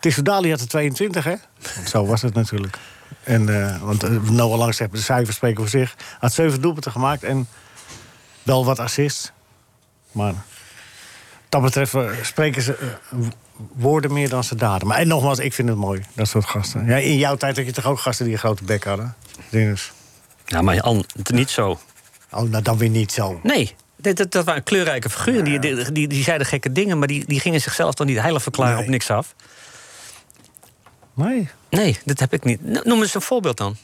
Tissoudali had er 22, hè? Want zo was het natuurlijk. En, eh, want eh, Noah Lang zegt, de cijfers spreken voor zich. Had zeven doelpunten gemaakt en wel wat assists. Maar dat betreft eh, spreken ze eh, woorden meer dan ze daden. Maar en nogmaals, ik vind het mooi, dat soort gasten. Ja, in jouw tijd had je toch ook gasten die een grote bek hadden? Dennis.
Ja, maar An, het niet zo.
Oh, nou dan weer niet zo.
Nee, dat, dat, dat waren kleurrijke figuren. Die, die, die, die zeiden gekke dingen, maar die, die gingen zichzelf dan niet heilig verklaren op niks af.
Nee.
Nee, dat heb ik niet. No- Noem eens een voorbeeld dan.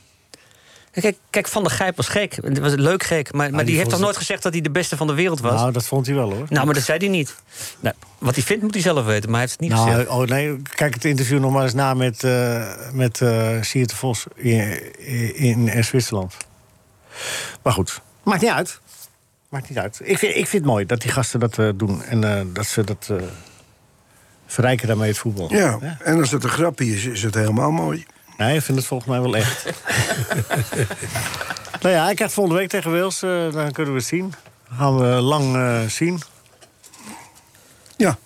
Kijk, kijk Van der Gijp was gek. Het was leuk gek. Maar, maar die,
Ah, die
heeft
vond
toch
het-
nooit gezegd dat hij de beste van de wereld was?
Nou,
Nou,
dat vond hij wel, hoor.
maar dat zei hij niet. Nou, wat hij vindt moet hij zelf weten, maar hij heeft het niet gezegd.
Nou, oh nee, kijk het interview nog maar eens na met, eh met eh, Siert de Vos in, in, in Zwitserland. Maar goed, maakt niet uit. Maakt niet uit. Ik vind, ik vind het mooi dat die gasten dat eh, doen en eh, dat ze dat eh, verrijken daarmee het voetbal.
Ja,
Hè?
en als het een grapje is, is het helemaal mooi.
Nee, ik vind het volgens mij wel echt. nou ja, ik krijg volgende week tegen Wales, eh, dan kunnen we het zien. Dan gaan we lang eh, zien.
Ja.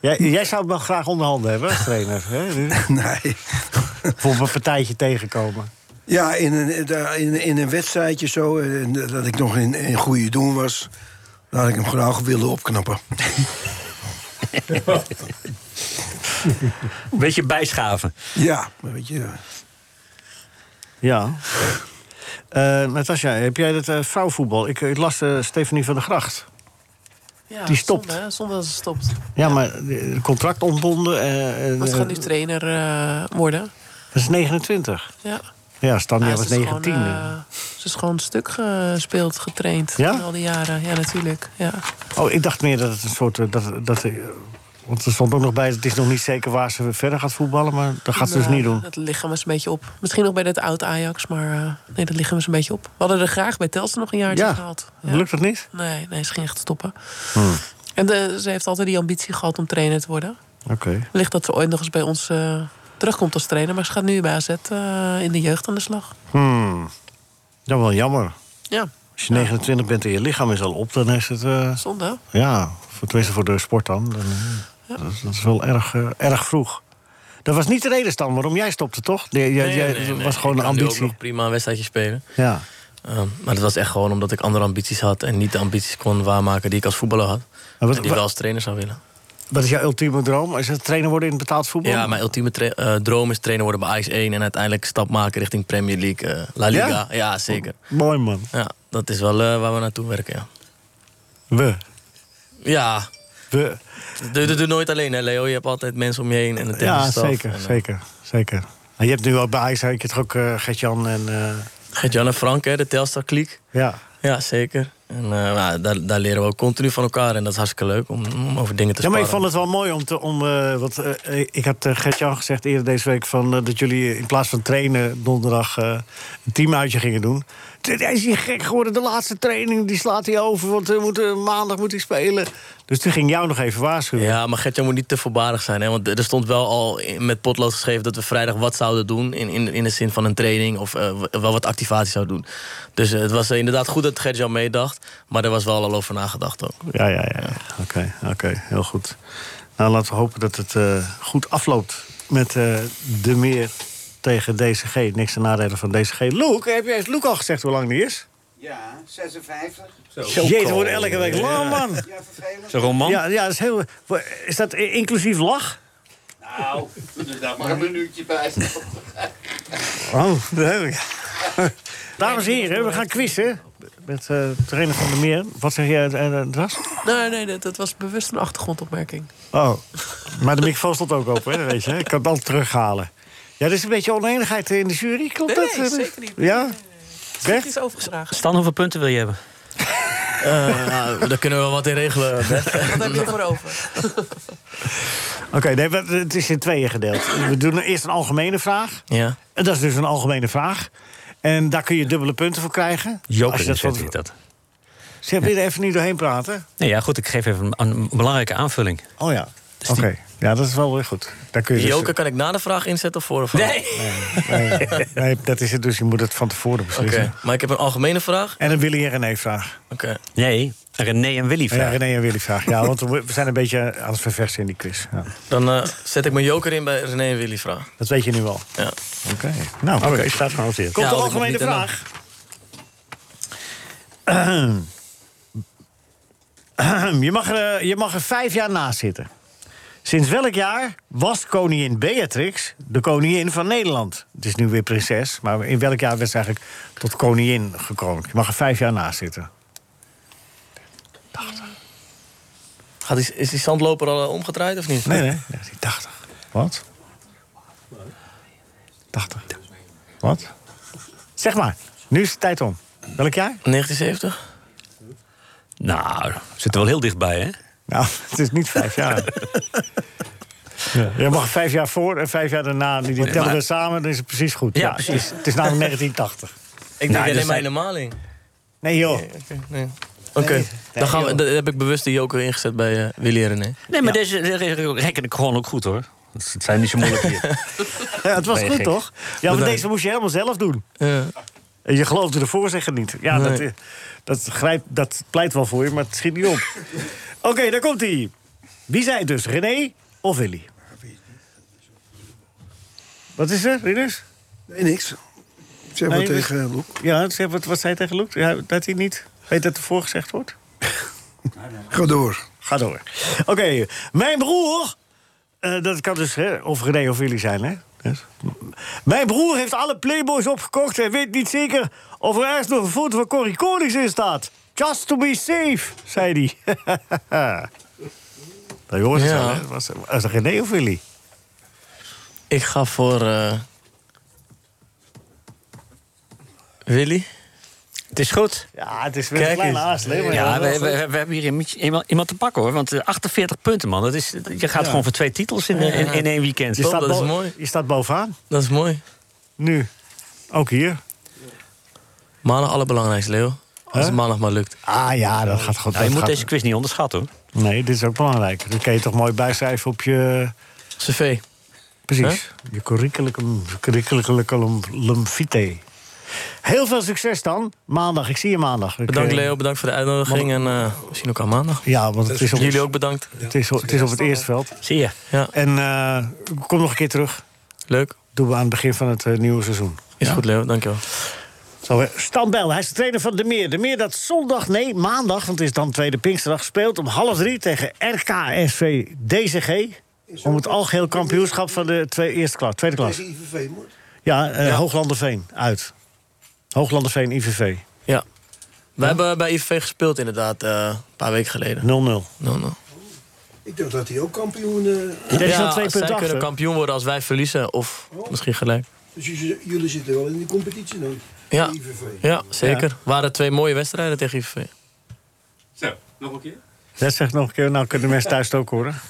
Jij, jij zou het wel graag onder handen hebben, als trainer. Hè?
Nee.
Bijvoorbeeld een partijtje tegenkomen.
Ja, in een, eh, daar- in, in een wedstrijdje zo, eh, dat ik nog in, in goede doen was... dan had ik hem graag willen opknappen.
Een beetje bijschaven.
Ja, weet je...
Ja. Eh Natasja, heb jij dat eh, vrouwvoetbal? Ik, ik las eh, Stefanie van der Gracht.
Ja,
Die stopt.
Zonde, hè? Zonde dat ze stopt.
Ja, maar eh, contract ontbonden. eh, eh,
Want ze gaat nu trainer eh, worden.
Dat is 29.
Ja.
Ja, Stanja
Ja,
was
ze is
19.
Gewoon, eh, ze is gewoon stuk gespeeld, getraind.
Ja?
in Al die jaren, ja, natuurlijk. Ja.
Oh, ik dacht meer dat het een soort... eh, dat, dat, eh, want er stond ook nog bij, het is nog niet zeker waar ze verder gaat voetballen... maar dat gaat ze dus
Maar
niet doen.
eh, Het lichaam is een beetje op. Misschien nog bij dat oud Ajax, maar eh, nee, dat lichaam is een beetje op. We hadden er graag bij Telstra nog een jaartje
Ja.
gehad. Ja.
Lukt dat niet? Hmm.
Nee, nee, ze ging echt stoppen. En de- ze heeft altijd die ambitie gehad om trainer te worden.
Oké.
Wellicht dat ze ooit nog eens bij ons eh, terugkomt als trainer. Maar ze gaat nu bij AZ eh, in de jeugd aan de slag.
Hmm. Dat is wel jammer.
Ja,
Als je 29 bent en je lichaam is al op, dan is het... eh,
zonde. hè?
Ja, voor, tenminste voor de sport dan. Dan, eh, Dat, is- dat is wel erg, eh, erg vroeg. Dat was niet de reden, Stan, waarom jij stopte, toch? Nee, jij,
Nee,
jij-
nee,
het
nee,
was gewoon
ik
een
kan nu
ambitie.
ook nog prima een wedstrijdje spelen.
Ja.
Ehm, maar dat was echt gewoon omdat ik andere ambities had... en niet de ambities kon waarmaken die ik als voetballer had.
Maar wat-
en die ik
wa-
wel als trainer zou willen.
Wat is jouw ultieme droom? Is het trainer worden in het betaald voetbal?
Ja, mijn ultieme tra- eh, droom is trainer worden bij Ajax 1... en uiteindelijk stap maken richting Premier League, eh, La Liga.
Ja?
Ja, zeker.
Mooi, man.
Ja, dat is wel eh, waar we naartoe werken, ja.
We.
Ja,
We.
dat doe- dat doe nooit alleen, hè, Leo. Je hebt altijd mensen om je heen en een
Ja,
technische staf.
zeker,
En, eh,
zeker, zeker. En je hebt nu ook bij IJs, heb je toch ook eh, Gert-Jan en... eh,
Gert-Jan en Frank, hè, de Telstar-kliek.
ja.
Ja, zeker. En eh, nou, daar, daar leren we ook continu van elkaar. En dat is hartstikke leuk om, om over dingen te
ja, maar ik
sparren.
vond het wel mooi om... Te, om eh, want, eh, ik had eh, Gert-Jan gezegd eerder deze week... Van, eh, dat jullie in plaats van trainen donderdag eh, een teamuitje gingen doen. Toen, Hij is hier gek geworden, de laatste training die slaat hij over... want eh, moet, eh, maandag moet hij spelen. Dus toen ging ik jou nog even waarschuwen.
Ja, maar Gertjan moet niet te voorbarig zijn. Hè? Want er stond wel al in- met potlood geschreven dat we vrijdag wat zouden doen. In, in, in de zin van een training of eh, w- wel wat activatie zouden doen. Dus eh, het was eh, inderdaad goed dat Gertjan meedacht. Maar er was wel al over nagedacht ook.
Ja, ja, ja. Oké, oké. Heel goed. Nou, laten we hopen dat het eh, goed afloopt met eh, de meer tegen DCG. Niks te nadelen van DCG. Loek, heb jij Loek al gezegd hoe lang die is?
Ja, 56.
Jeet, we worden elke week lang, man.
Ja, vervelend.
Zo'n roman.
Ja, ja, dat is heel... Is dat i- inclusief lach?
Nou, doe er daar maar een minuutje bij.
Oh, dat heb ik. Dames en heren, we gaan quizzen. Met eh trainer van de meer. Wat zeg jij, eh, eh, Dras?
Nee, nee, dat, dat was bewust een achtergrondopmerking.
Oh, maar de microfoon stond ook open, hè, weet je. hè? Ik kan het altijd terughalen. Ja, er is een beetje oneenigheid in de jury, klopt
Nee,
dat?
nee, zeker niet.
Ja?
Het
Echt?
is overgedragen.
Stan, hoeveel punten wil je hebben?
Eh, nou, daar kunnen we wel wat in regelen. Bert.
Wat heb je ervoor over?
Oké, nee, maar het is in tweeën gedeeld. We doen eerst een algemene vraag.
ja.
En dat is dus een algemene vraag. En daar kun je dubbele punten voor krijgen. Als je dat van...
ik dat. Nou
Zeg, wil je er even niet doorheen praten?
Nee, ja, goed, ik geef even een, een belangrijke aanvulling.
Oh ja.
Dus
Oké.
die-
Ja, dat is wel weer goed. Daar kun je
Die
dus-
joker kan ik na de vraag inzetten of voor of Nee.
Nee, nee, dat is het dus. Je moet het van tevoren
Oké,
beslissen.
maar ik heb een algemene vraag.
En een Willy en René vraag.
Oké.
Nee, René en Willy
Ja, René en Willy vraag. Ja, want we we zijn een beetje aan het verversen in die quiz. Ja.
Dan eh, zet ik mijn joker in bij René en Willy vraag.
Dat weet je nu al.
Ja.
Oké. Nou,
Oké.
oké, staat genoteerd. Komt
Ja,
de
want ik
algemene
moet niet aan
vraag. Ahem. Ahem. Je mag, er, eh, je mag er vijf jaar naast zitten. Sinds welk jaar was koningin Beatrix de koningin van Nederland? Het is nu weer prinses, maar in welk jaar werd ze eigenlijk tot koningin gekroond? Je mag er vijf jaar naast zitten.
Gaat die, is die zandloper al eh, omgedraaid of niet?
Nee, nee, nee, die 80. Wat? 80. Wat? Zeg maar, nu is de tijd om. Welk jaar?
1970?
Nou, zit er wel heel dichtbij, hè?
Nou, het is niet vijf jaar. Ja, je mag vijf jaar voor en vijf jaar daarna. Die die tellen
maar-
we samen, dan is het precies goed.
Ja,
Het is, het is namelijk 1980.
Ik denk alleen
dat
maar
zijn-
in de maling.
dus- Nee joh,
Oké, nee. Oké, dan gaan we, dan heb ik bewust de joker ingezet bij eh, Willy en René.
Nee, maar deze, deze reken ik gewoon ook goed, hoor. Het zijn niet zo moeilijk hier.
ja, het was
Ben je
goed
gek?
toch? Ja, want
Bedankt.
deze moest je helemaal zelf doen.
Ja.
En je geloofde de voorzegger niet. Ja,
Nee.
dat, eh, dat, grijpt, dat pleit wel voor je, maar het schiet niet op. Oké, daar komt hij. Wie zei het dus, René of Willy? Wat is er, Rinus?
Nee, niks. Zeg maar
Nee, dus-
tegen eh, Loek.
Ja, zeg, wat, wat zei hij tegen Loek? Ja, dat hij niet weet dat er voorgezegd wordt?
Ga door.
Ga door. Oké, mijn broer. eh, dat kan dus hè, of René of Willy zijn, hè? Dus. Mijn broer heeft alle Playboys opgekocht en weet niet zeker of er ergens nog een foto van Corrie Konings in staat. Just to be safe, zei hij. Dat hoorde het
Ja.
wel, hè? Was, was het René of Willy?
Ik ga voor... eh, Willy?
Het is goed.
Ja, het is weer
Kijk
een kleine
eens.
aansleep. maar
Ja,
dat
we,
was
we, we
goed.
hebben hier iemand- iemand, iemand te pakken, hoor. Want eh, 48 punten, man. Dat is, je gaat gewoon voor twee titels in, in, in één weekend.
je, staat
dat is
bo-
mooi.
je staat bovenaan.
Dat is mooi.
Nu. Ook hier.
Maandag allerbelangrijkste, Leo. Als het maandag maar lukt.
Ah ja, dat gaat goed.
Nou, je
dat
moet
gaat-
deze quiz niet onderschatten, hoor.
Nee, dit is ook belangrijk. Dat kan je toch mooi bijschrijven op je...
CV.
Precies. Je curriculum, curriculum curriculum vitae. Heel veel succes dan. Maandag, ik zie je maandag. Ik,
Bedankt
eh,
Leo, bedankt voor de uitnodiging. En eh, misschien ook aan maandag.
Ja, want het is op,
Jullie ook bedankt.
het, is, op- het is op het eerste veld.
Zie je.
Ja,
En eh, kom nog een keer terug.
leuk.
Doen we aan het begin van het eh, nieuwe seizoen.
Is goed Leo, dankjewel.
Zo, eh, Stan Bijl, hij is de trainer van De Meer. De Meer dat zondag, nee, maandag, want het is dan tweede Pinksterdag... speelt om half drie tegen RKSV DCG... om het algeheel kampioenschap van de twee, eerste klas, tweede klas.
Tegen IVV, moet.
Ja, eh, Hooglanderveen, uit. Hooglanderveen, IVV, 0-0.
Ja. We hebben bij IVV gespeeld inderdaad, eh, een paar weken geleden. No, no.
Ik dacht dat hij ook kampioen... eh,
Er is al
Ja,
twee
zij
punten
kunnen
achter.
kampioen worden als wij verliezen. Of misschien gelijk.
dus jullie jullie zitten wel in de competitie dan?
Ja,
de IVV.
ja zeker. Waren twee mooie wedstrijden tegen IVV.
Zo, nog een keer.
Dat zegt nog een keer, nou kunnen de mensen thuis het ook horen.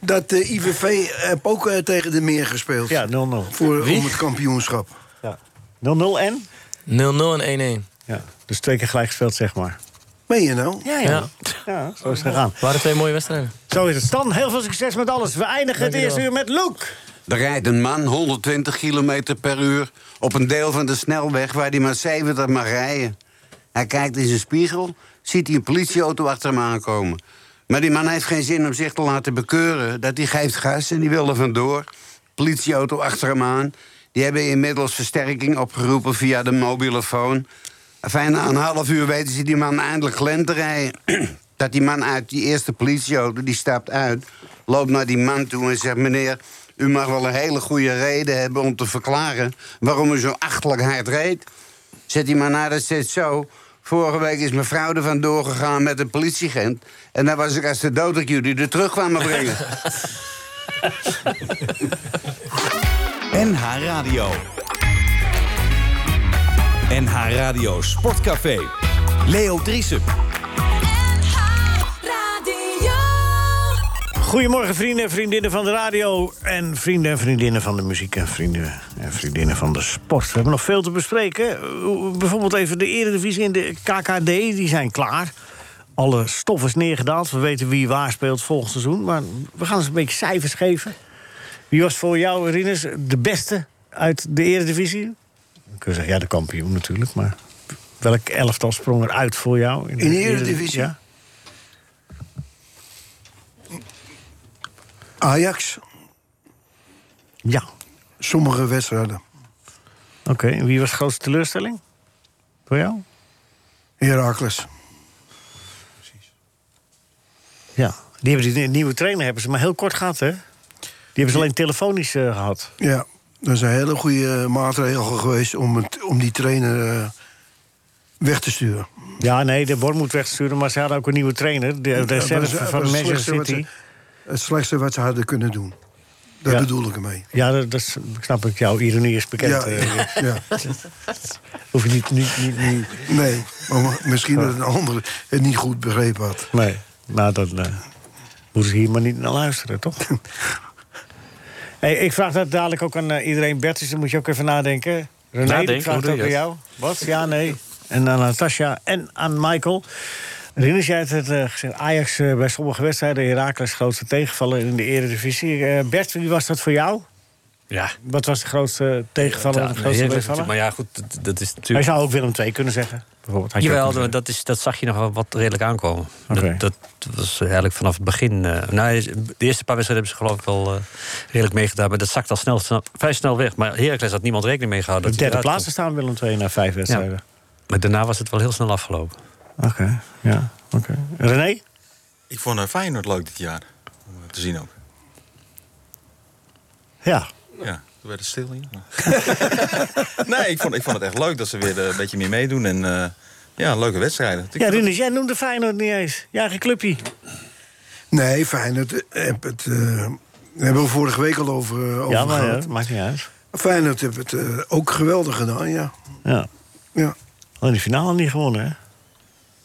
Dat de IVV heb ook eh, tegen de meer gespeeld.
Ja, 0-0.
Voor,
Wie?
om het kampioenschap.
Ja. 0-0 en?
0-0 en 1-1.
Ja, dus twee keer gelijk gespeeld, zeg maar.
Meen je nou?
Ja,
Ja, Ah, zo is het gegaan.
Waren twee mooie wedstrijden.
Zo is het. Stan, heel veel succes met alles. We eindigen het eerste uur met Luke.
Er rijdt een man 120 km per uur op een deel van de snelweg waar hij maar 70 mag rijden. Hij kijkt in zijn spiegel, ziet hij een politieauto achter hem aankomen. Maar die man heeft geen zin om zich te laten bekeuren. Dat hij geeft gas en die wil er vandoor. Politieauto achter hem aan. Die hebben inmiddels versterking opgeroepen via de mobielefoon. Fijn, na een half uur weten ze die man eindelijk glen te rijden. dat die man uit die eerste politieauto, die stapt uit... loopt naar die man toe en zegt... meneer, u mag wel een hele goede reden hebben om te verklaren... waarom u zo achtelijk hard reed. Zet die man naar, dat zit zo... Vorige week is mijn vrouw er vandoor gegaan met een politieagent. En dan was ik als de dood dat jullie er terug kwamen brengen.
NH Radio. NH Radio Sportcafé. Leo Driesen.
Goedemorgen, vrienden en vriendinnen van de radio. En vrienden en vriendinnen van de muziek. En vrienden en vriendinnen van de sport. We hebben nog veel te bespreken. Eh, Bijvoorbeeld even de Eredivisie en de KKD, die zijn klaar. alle stof is neergedaald. We weten wie waar speelt volgend seizoen. Maar we gaan eens een beetje cijfers geven. Wie was voor jou, Rinus, de beste uit de Eredivisie? Dan kun je zeggen, ja, de kampioen natuurlijk. Maar welk elftal sprong er uit voor jou?
In de Eredivisie?
Ja.
Ajax.
Ja.
Sommige wedstrijden.
Oké, en wie was de grootste teleurstelling? Voor jou?
Herakles.
Ja. Die hebben die nieuwe trainer hebben ze maar heel kort gehad, hè? Die hebben ze alleen telefonisch eh, gehad.
Ja, dat is een hele goede eh, maatregel geweest om, het, om die trainer eh, weg te sturen.
Ja, Ah, nee, de Bor moet wegsturen, maar ze hadden ook een nieuwe trainer. De, de
Ja, maar
reserve
dat is-
van
dat is het
Manchester
slechtste wat
City.
ze- Het slechtste wat ze hadden kunnen doen. Daar
Ja.
bedoel ik ermee.
Ja, dat, dat is- snap ik. Jouw ironie is bekend.
Ja,
eh,
ja, ja.
Hoef je niet... niet, niet, niet...
Nee, maar ma- misschien dat een ander het niet goed begrepen had.
Nee, nou, dan eh, moeten ze hier maar niet naar luisteren, toch? hey, ik vraag dat dadelijk ook aan eh, iedereen. Bert, dus dan moet je ook even nadenken. René,
Nadenken,
ik vraag
hoe
het
doe
ook
je
aan
dat?
jou. Wat? Ja, nee. En aan Natasja en aan Michael. Rinus, jij hebt het eh, gezegd. Ajax eh, bij sommige wedstrijden Herakles grootste tegenvaller in de eredivisie. Eh, Bert, wie was dat voor jou?
Ja.
Wat was de grootste tegenvaller?
Ja,
de grootste
Heracles natuurlijk,
tegenvaller?
maar ja, goed, dat, dat is natuurlijk...
Hij zou ook Willem II kunnen zeggen. Bijvoorbeeld, had je ook
Jawel,
kunnen
dat, is, dat zag je nog wel wat redelijk aankomen. Dat, dat was eigenlijk vanaf het begin. eh, nou, de eerste paar wedstrijden hebben ze geloof ik wel eh, redelijk meegedaan. Maar dat zakt al snel, snel- vrij snel weg. Maar Heracles had niemand rekening mee gehouden.
De
dat hij
derde
eruit
plaats staan Willem II na vijf wedstrijden.
kon. Maar daarna was het wel heel snel afgelopen.
Oké, ja. oké. René?
Ik vond eh, Feyenoord leuk dit jaar. Om eh, te zien ook.
Ja.
Ja, toen werd het stil hier. nee, ik vond, ik vond het echt leuk dat ze weer eh, een beetje meer meedoen. En eh, ja, leuke wedstrijden.
Ja, Rinus, jij noemde Feyenoord niet eens. Je eigen clubje.
Nee, Feyenoord heb het. eh, daar hebben we vorige week al over, eh, over
Ja, maar ja,
gehad.
dat maakt niet uit.
Feyenoord heeft het eh, ook geweldig gedaan, ja.
Ja.
ja.
Alleen die Oh, finale niet gewonnen, hè?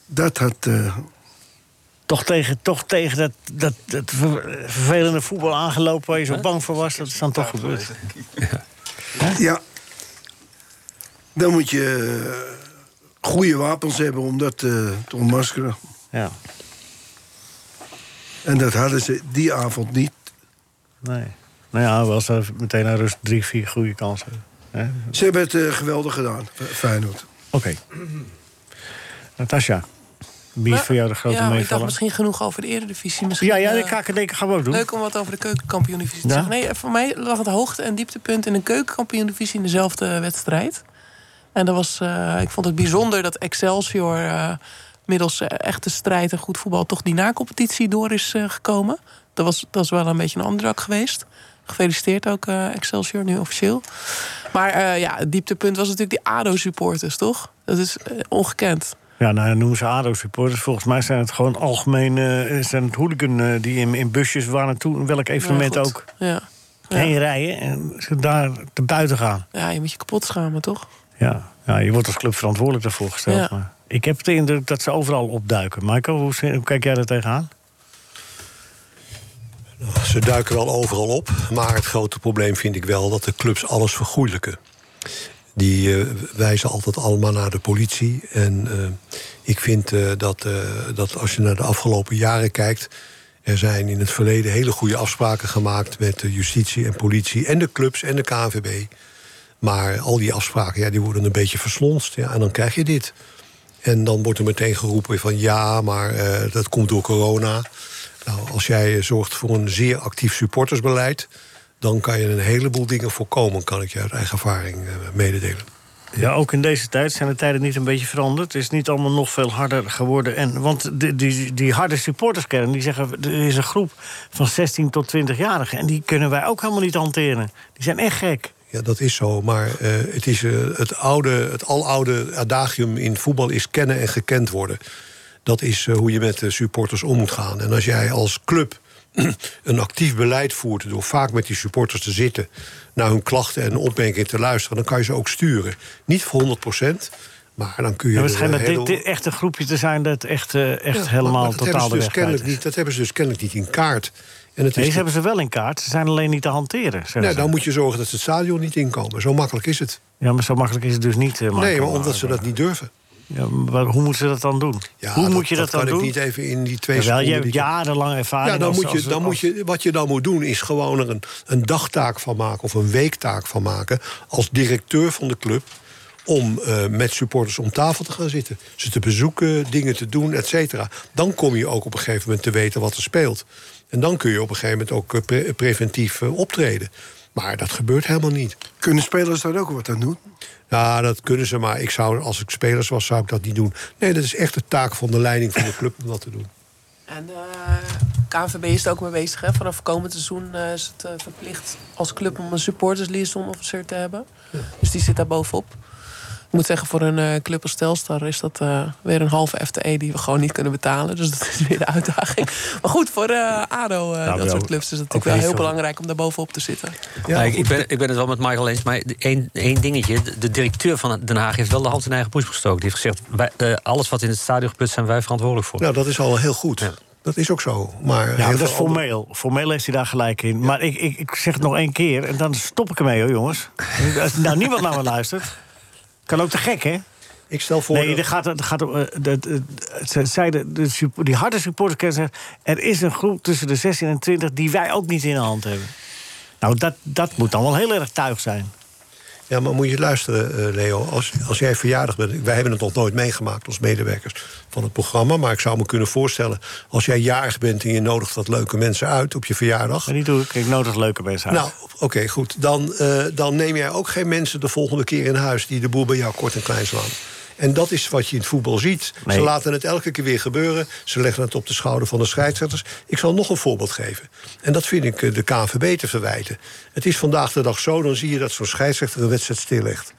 Dat had... eh,
Toch tegen, toch tegen dat, dat, dat ver- vervelende voetbal aangelopen waar je zo bang voor was. Dat is dan toch gebeurd.
Ja. Dan moet je eh, goede wapens hebben om dat eh, te ontmaskeren.
Ja.
En dat hadden ze die avond niet.
Nee. Nou ja, wel zo meteen naar rust drie, vier goede kansen. hè?
Ze hebben het eh, geweldig gedaan, F- Feyenoord.
Oké. Natasja, wie is voor jou de grote
ja, maar ik dacht
meevaller?
misschien genoeg over de eredivisie. Misschien,
Ja, ja, de
eh,
KKD gaan we ook doen.
Leuk om wat over de keukenkampioendivisie te
Ja.
zeggen. Nee, eh, voor mij lag het hoogte- en dieptepunt in de keukenkampioendivisie in dezelfde eh, wedstrijd. En dat was, eh, ik vond het bijzonder dat Excelsior eh, middels eh, echte strijd en goed voetbal toch die na-competitie door is eh, gekomen. Dat was, dat is wel een beetje een underdog geweest. Gefeliciteerd ook eh, Excelsior nu officieel. Maar eh, ja, het dieptepunt was natuurlijk die ADO-supporters, toch? Dat is eh, ongekend.
Ja, nou ja, noemen ze ADO-supporters. Volgens mij zijn het gewoon algemeen eh, zijn het hooligan eh, die in, in busjes waar naartoe, welk evenement
Maar goed,
ook,
Ja.
heen rijden en ze daar te buiten gaan.
ja, je moet je kapot schamen, toch?
Ja. ja, je wordt als club verantwoordelijk daarvoor gesteld.
Ja.
Maar ik heb de indruk dat ze overal opduiken. Michael, hoe, zi- hoe kijk jij daar tegenaan?
Ze duiken wel overal op, maar het grote probleem vind ik wel dat de clubs alles vergoeilijken. Die eh, wijzen altijd allemaal naar de politie. En eh, ik vind eh, dat, eh, dat als je naar de afgelopen jaren kijkt. Er zijn in het verleden hele goede afspraken gemaakt met de justitie en politie en de clubs en de KNVB. Maar al die afspraken, ja, die worden een beetje verslonst. Ja, en dan krijg je dit. En dan wordt er meteen geroepen van ja, maar eh, dat komt door corona. Nou, als jij eh, zorgt voor een zeer actief supportersbeleid... dan kan je een heleboel dingen voorkomen, kan ik je uit eigen ervaring eh, mededelen.
Ja, ook in deze tijd zijn de tijden niet een beetje veranderd. Het is niet allemaal nog veel harder geworden. En, want die, die, die harde supporterskern, die zeggen... er is een groep van 16 tot 20-jarigen... en die kunnen wij ook helemaal niet hanteren. Die zijn echt gek.
Ja, dat is zo, maar eh, het is eh, het, oude, het aloude adagium in voetbal is kennen en gekend worden. Dat is eh, hoe je met de supporters om moet gaan. En als jij als club een actief beleid voert door vaak met die supporters te zitten, naar hun klachten en opmerkingen te luisteren, dan kan je ze ook sturen. Niet voor 100%, maar dan kun je.
Ja,
er
het schijnt
een
dat dit,
heleboel-
dit echt een groepje te zijn... dat echt, eh, echt
Ja, maar
helemaal
dat hebben
totaal
ze
de
dus
weg kwijt
kennelijk
is.
niet. Dat hebben ze dus kennelijk niet in kaart. En het
Nee,
is
ze hebben ze wel in kaart. Ze zijn alleen niet te hanteren. zeggen
Nee,
ze.
dan moet je zorgen dat ze het stadion niet inkomen. Zo makkelijk is het.
Ja, maar zo makkelijk is het dus niet. eh, Marco.
nee, maar omdat ze dat niet durven.
Ja, maar hoe moeten ze dat dan doen? hoe moet je dat, dan
kan
doen?
ik niet even in die twee
Jawel,
seconden.
je hebt
die ik-
jarenlang ervaring.
Ja, dan
als-
moet je,
als-
dan
als-
moet je, wat je dan moet doen is gewoon er een, een dagtaak van maken of een weektaak van maken als directeur van de club om eh, met supporters om tafel te gaan zitten. Ze te bezoeken, dingen te doen, et cetera. Dan kom je ook op een gegeven moment te weten wat er speelt. En dan kun je op een gegeven moment ook eh, pre- preventief eh, optreden. Maar dat gebeurt helemaal niet.
Kunnen spelers daar ook wat aan doen?
Ja, dat kunnen ze, maar ik zou, als ik spelers was, zou ik dat niet doen. Nee, dat is echt de taak van de leiding van de club om dat te doen.
En eh KNVB is er ook mee bezig. Hè? Vanaf komend seizoen eh, is het eh, verplicht als club om een supporters liaison officer te hebben. Dus die zit daar bovenop. Ik moet zeggen, voor een eh, club als Telstar is dat eh, weer een halve FTE die we gewoon niet kunnen betalen. Dus dat is weer de uitdaging. Maar goed, voor eh, ADO, eh,
Nou,
dat
wel-
soort clubs is het
ook
natuurlijk wel heel
niet zo.
belangrijk om daar bovenop te zitten.
Ja, ik, ik ben, ik ben het wel met Michael eens, maar de- één, één dingetje. De, de directeur van Den Haag heeft wel de hand in eigen poes gestoken. Die heeft gezegd, wij, eh, alles wat in het stadion gebeurt... zijn wij verantwoordelijk voor.
Nou, dat is al heel goed. Dat is ook zo. Maar
ja, maar dat is
heel veel andere-
formeel. Formeel heeft hij daar gelijk in. Maar ik, ik, ik zeg het nog één keer en dan stop ik ermee, hoor, jongens. Als nou niemand naar me luistert. Kan ook te gek, hè?
Ik stel voor.
Nee,
dat-
er gaat, er gaat, om, eh, dat, eh, ze zeiden, de sup- die harde supporters zeggen. Er is een groep tussen de 16 en 20 die wij ook niet in de hand hebben. Nou, dat, dat moet dan wel heel erg tuig zijn.
Ja, maar moet je luisteren, eh, Leo. Als, als jij verjaardag bent. Wij hebben het nog nooit meegemaakt als medewerkers van het programma. Maar ik zou me kunnen voorstellen. Als jij jarig bent en je nodigt wat leuke mensen uit op je verjaardag.
En die doe ik. Ik nodig leuke mensen uit.
Nou, oké, goed. Dan, eh, dan neem jij ook geen mensen de volgende keer in huis. die de boel bij jou kort en klein slaan. En dat is wat je in het voetbal ziet.
Nee.
Ze laten het elke keer weer gebeuren. Ze leggen het op de schouder van de scheidsrechters. Ik zal nog een voorbeeld geven. En dat vind ik eh, de KNVB te verwijten. Het is vandaag de dag zo, dan zie je dat zo'n scheidsrechter een wedstrijd stillegt.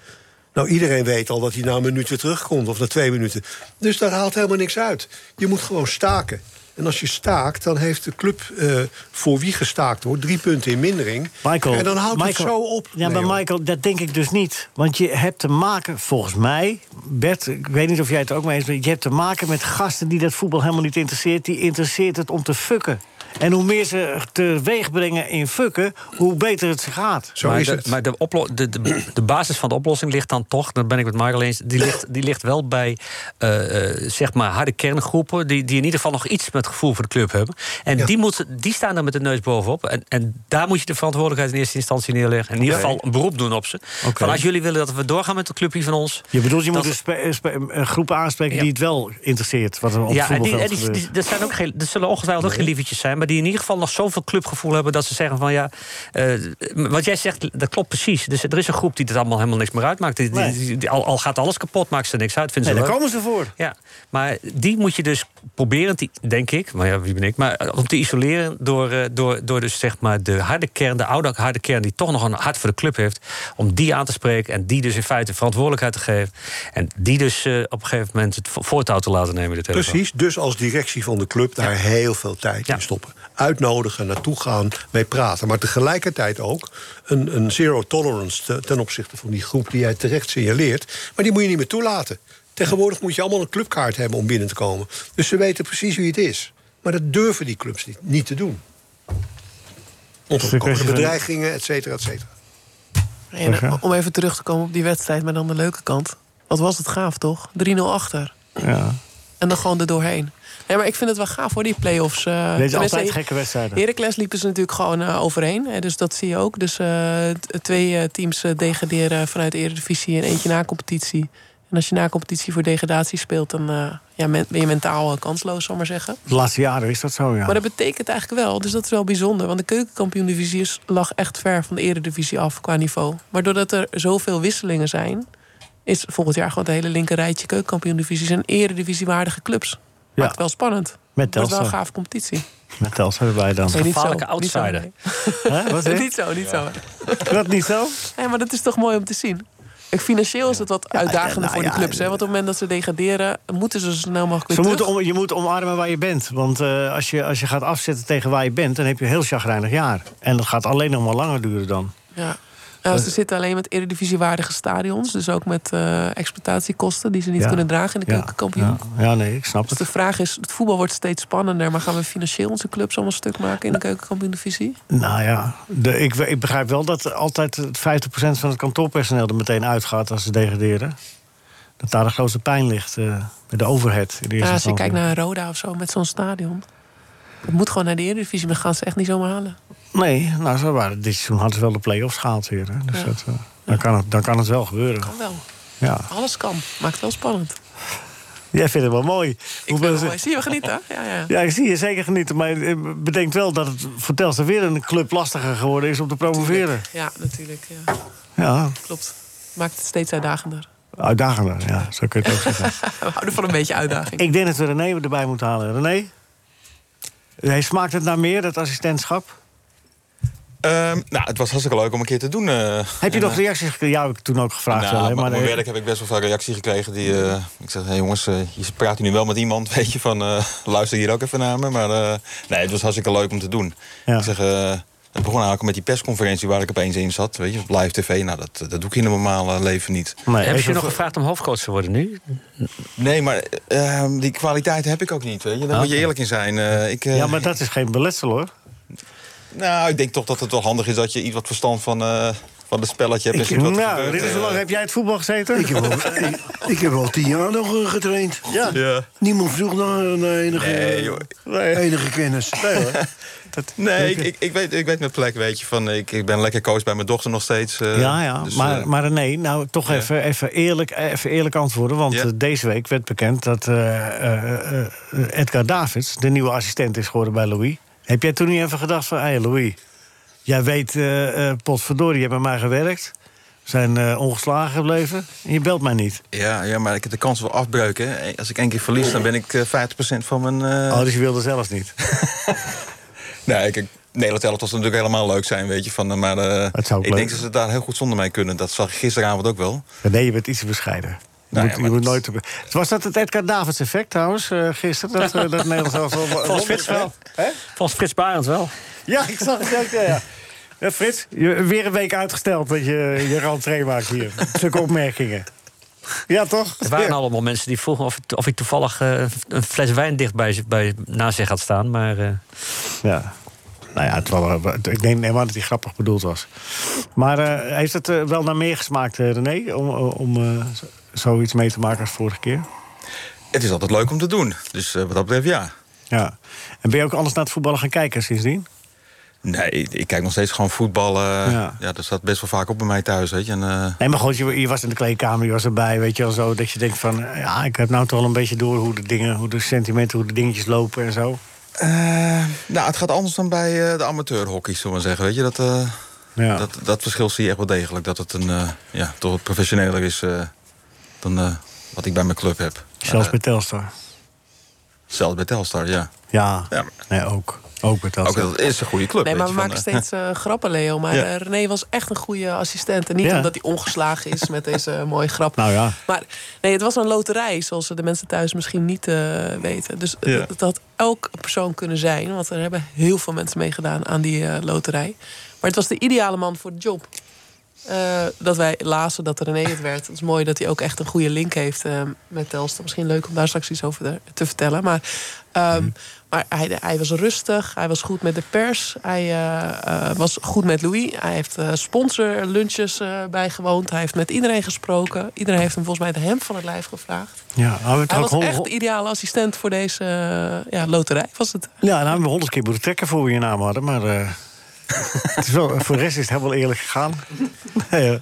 Nou, iedereen weet al dat hij na een minuut weer terugkomt of na twee minuten. Dus daar haalt helemaal niks uit. Je moet gewoon staken. En als je staakt, dan heeft de club eh, voor wie gestaakt wordt drie punten in mindering.
Michael,
en dan houdt
Michael-
het zo op.
Ja, maar
Leo.
Michael, dat denk ik dus niet. Want je hebt te maken, volgens mij, Bert, ik weet niet of jij het er ook mee eens bent. Je hebt te maken met gasten die dat voetbal helemaal niet interesseert. Die interesseert het om te fucken. En hoe meer ze teweeg brengen in fucken, hoe beter het ze gaat.
maar de, Maar de, oplo- de, de, de basis van de oplossing ligt dan toch, daar ben ik met Michael eens, die ligt, die ligt wel bij eh, eh, zeg maar harde kerngroepen, die, die in ieder geval nog iets met gevoel voor de club hebben. En die, moeten, die staan er met de neus bovenop. En, en daar moet je de verantwoordelijkheid in eerste instantie neerleggen. En in ieder
Oké.
geval een beroep doen op ze.
Oké.
Van als jullie willen dat we doorgaan met de club hier van ons.
Je bedoelt, je
dan-
moet dus spe- spe- een groep aanspreken
Ja.
die het wel interesseert. Wat er op het
ja, en die,
voetbalveld
en die,
gebeurt.
die- dat, zijn ook geen, dat zullen ongetwijfeld ook geen lievertjes zijn... maar die in ieder geval nog zoveel clubgevoel hebben... dat ze zeggen van ja, eh, wat jij zegt, dat klopt precies. Dus er is een groep die het allemaal helemaal niks meer uitmaakt. Die, die-
Nee.
die- die- al, al gaat alles kapot, maakt ze niks uit, vinden
Nee,
ze
daar
leuk.
komen ze voor.
Ja, maar die moet je dus proberen, te- denk ik, maar ja, wie ben ik, maar eh, om te isoleren door, eh, door, door dus zeg maar de harde kern, de oude harde kern die toch nog een hart voor de club heeft, om die aan te spreken en die dus in feite verantwoordelijkheid te geven en die dus eh, op een gegeven moment het vo- voortouw te laten nemen. in dit hele verhaal.
Precies, dus als directie van de club daar heel veel tijd in stoppen. Uitnodigen, naartoe gaan, mee praten. Maar tegelijkertijd ook een, een zero tolerance te- ten opzichte van die groep die jij terecht signaleert. Maar die moet je niet meer toelaten. Tegenwoordig moet je allemaal een clubkaart hebben om binnen te komen. Dus ze weten precies wie het is. Maar dat durven die clubs niet, niet te doen. Ongekomen bedreigingen, et cetera, et cetera.
En, eh,
Oké.
om even terug te komen op die wedstrijd, maar dan de leuke kant. Wat was het gaaf, toch? 3-0 achter.
Ja.
En dan gewoon er doorheen. Nee, maar ik vind het wel gaaf hoor, die play-offs. eh.
Dit is
Tenminste,
altijd gekke wedstrijden.
Heracles liepen ze natuurlijk gewoon eh, overheen. Hè, dus dat zie je ook. Dus eh, t- twee eh, teams eh, degraderen vanuit de Eredivisie en eentje na competitie. En als je na competitie voor degradatie speelt, dan eh, ja, men- ben je mentaal eh, kansloos, zal ik maar zeggen.
De laatste jaren is dat zo, ja.
Maar dat betekent eigenlijk wel, dus dat is wel bijzonder. Want de keukenkampioen-divisie is- lag echt ver van de eredivisie af qua niveau. Maar doordat er zoveel wisselingen zijn... is volgend jaar gewoon het hele linker rijtje keukenkampioen-divisies... en eredivisiewaardige clubs. Maakt het wel spannend. Dat is
Met
wel een
Telstar.
gevaarlijke competitie.
Met Telstra erbij dan.
Nee, niet zo. Niet zo,
outsider.
nee.
Hè, wat zeg je?
niet zo, niet zo.
Dat niet zo?
Nee, maar dat is toch mooi om te zien. Kijk, financieel is dat wat uitdagender
nou
voor de
ja,
clubs. Hè? Want op het moment dat ze degraderen, moeten ze zo snel mogelijk weer
Ze
terug.
moeten om, je moet omarmen waar je bent. Want eh, als, je, als je gaat afzetten tegen waar je bent, dan heb je een heel chagrijnig jaar. En dat gaat alleen nog maar langer duren dan.
Ja. Nou,
Eh.
ze zitten alleen met eredivisiewaardige stadions. Dus ook met eh, exploitatiekosten die ze niet
Ja.
kunnen dragen in de
Ja.
keukenkampioen.
Ja, nee, ik snap
Dus
het.
de vraag is, het voetbal wordt steeds spannender... maar gaan we financieel onze clubs allemaal stuk maken in de keukenkampioen-divisie?
Nou ja, de, ik, ik begrijp wel dat altijd het 50% van het kantoorpersoneel er meteen uitgaat als ze degraderen. dat daar de grootste pijn ligt. eh, bij de overhead. In de
Ja,
eerste
als je
instantie.
kijkt naar Roda of zo met zo'n stadion. Het moet gewoon naar de Eredivisie, maar dat gaan ze echt niet zomaar halen.
Nee, nou, ze waren, dit seizoen hadden ze wel de play-offs gehaald weer. Hè. Dus
Ja.
dat, eh, dan, kan het, dan kan het wel gebeuren.
Kan wel.
Ja.
Alles kan. Maakt het wel spannend.
Jij vindt het wel mooi. Hoe ben-
Mooi. Zie je, we genieten. hè? Ja, ja.
Ja, ik zie je zeker genieten. Maar eh, bedenk wel dat het voor Telstar weer een club lastiger geworden is om te promoveren.
ja natuurlijk. Ja.
Ja,
Klopt. Maakt het steeds uitdagender.
uitdagender. Ja, zo kun je het ook zeggen.
We houden van een beetje uitdaging.
Ik denk dat we René erbij moeten halen. René? Hij smaakt het naar meer, dat assistentschap?
Ehm, nou, het was hartstikke leuk om een keer te doen. eh,
Heb je nog
reacties?
reacties gekregen? Ja, heb ik toen ook gevraagd.
Nou,
wel, hè,
op
maar
mijn
eh,
werk heb ik best wel vaak reactie gekregen. Die, eh, ik zeg, hey jongens, eh, je praat hier nu wel met iemand, weet je, van eh, luister hier ook even naar me. Maar eh, nee, het was hartstikke leuk om te doen.
Ja.
Ik zeg, eh, het begon eigenlijk met die persconferentie waar ik opeens in zat. Weet je, op live tv, nou, dat, dat doe ik in een normale leven niet.
Hebben ze je nog gevraagd om hoofdcoach te worden nu?
Nee, maar eh, die kwaliteit heb ik ook niet, weet je. Daar moet je
Oké.
eerlijk in zijn. Eh, ik, eh,
Ja, maar dat is geen beletsel hoor.
Nou, ik denk toch dat het wel handig is dat je iets wat verstand van, eh, van het spelletje hebt. en
Ik,
ziet wat er
nou,
gebeurt.
dit is
Eh,
hoe lang heb jij het voetbal gezeten? Ik heb
ik, ik heb al tien jaar nog eh, getraind.
Ja.
Ja.
Niemand vroeg naar, naar enige,
Nee, joh.
enige kennis.
Nee, ik, ik, ik, weet, ik weet mijn plek, weet je. Van, ik, ik ben lekker coach bij mijn dochter nog steeds. eh,
ja, ja.
dus,
maar,
eh,
maar René, nou toch even, even, eerlijk, even eerlijk antwoorden. Want eh, deze week werd bekend dat eh, eh, eh, Edgar Davids... de nieuwe assistent is geworden bij Louis. Heb jij toen niet even gedacht van... hé hey, Louis, jij weet, eh eh potverdorie, je hebt bij mij gewerkt... we zijn eh, ongeslagen gebleven en je belt mij niet.
ja, ja, maar ik heb de kans wel afbreuken. hè. Als ik één keer verlies, dan ben ik eh, 50% van mijn... eh,
Oh, dus je wilde zelf niet.
Nee, kijk, Nederland elftal zou natuurlijk helemaal leuk zijn, weet je. Van, eh, maar eh,
zou ook
ik
leuk-
denk dat ze het daar heel goed zonder mij kunnen. Dat zag ik gisteravond ook wel.
Nee, je bent iets te bescheiden. Je
Nou
moet,
ja,
je
maar
moet nooit... te- Was dat het Edgar Davids effect trouwens, eh, gisteren? Dat, eh, dat Nederland zelf
Volgens Frits wel. Volgens Frits Barend wel.
Ja, ik zag het ook, ja. ja. Ja, Frits, je, weer een week uitgesteld dat je je rentree maakt hier. Zulke opmerkingen. Ja, toch?
Er waren allemaal mensen die vroegen of, of ik toevallig eh, een fles wijn dicht bij, bij, naast zich had staan. Maar eh,
Ja. Nou ja, het was, wel- ik denk helemaal dat hij grappig bedoeld was. Maar eh, heeft het eh, wel naar meer gesmaakt, eh, René? Om, om eh, z- zoiets mee te maken als vorige keer?
Het is altijd leuk om te doen. Dus eh, wat dat betreft, ja.
Ja. En ben je ook anders naar het voetballen gaan kijken sindsdien?
Nee, ik, ik kijk nog steeds gewoon voetbal. eh,
Ja.
ja. dat staat best wel vaak op bij mij thuis, weet je. En, eh,
Nee, maar goed, je, je was in de kleedkamer, je was erbij, weet je wel zo. Dat je denkt van, ja, ik heb nou toch wel een beetje door hoe de dingen, hoe de sentimenten, hoe de dingetjes lopen en zo.
Eh, nou, het gaat anders dan bij eh, de amateurhockey, zullen we maar zeggen. Weet je, dat, eh,
Ja.
dat, dat verschil zie je echt wel degelijk. Dat het een, eh, ja, toch wat professioneler is eh, dan eh, wat ik bij mijn club heb.
Zelfs
Eh,
bij Telstar.
zelfs bij Telstar, ja.
Ja, nee, ook. Ook bij
Ook
Telstar.
dat is een goede club.
nee, maar we
weet je,
maken
van, eh,
steeds eh, grappen, Leo. Maar
Ja.
eh, René was echt een goede assistent. En niet
Ja.
omdat hij ongeslagen is met deze mooie grap.
Nou ja.
Maar nee, het was een loterij, zoals de mensen thuis misschien niet eh, weten. Dus
Ja.
dat het had elke persoon kunnen zijn. Want er hebben heel veel mensen meegedaan aan die eh, loterij. Maar het was de ideale man voor de job. Eh, dat wij lazen dat René het werd. Het is mooi dat hij ook echt een goede link heeft eh, met Telstra. Misschien leuk om daar straks iets over te- te vertellen. Maar, ehm, maar hij, hij was rustig, hij was goed met de pers, hij eh, eh, was goed met Louis. Hij heeft eh, sponsorlunches eh, bijgewoond, hij heeft met iedereen gesproken. Iedereen heeft hem volgens mij de hemd van het lijf gevraagd.
Ja, nou, we hebben het
Hij
ook
was
honderd-
echt de ideale assistent voor deze eh, ja, loterij, was het?
Ja, nou hebben we honderd keer moeten trekken voor we je naam hadden, maar... eh, het is wel, voor de rest is het helemaal eerlijk gegaan. Nee, eh.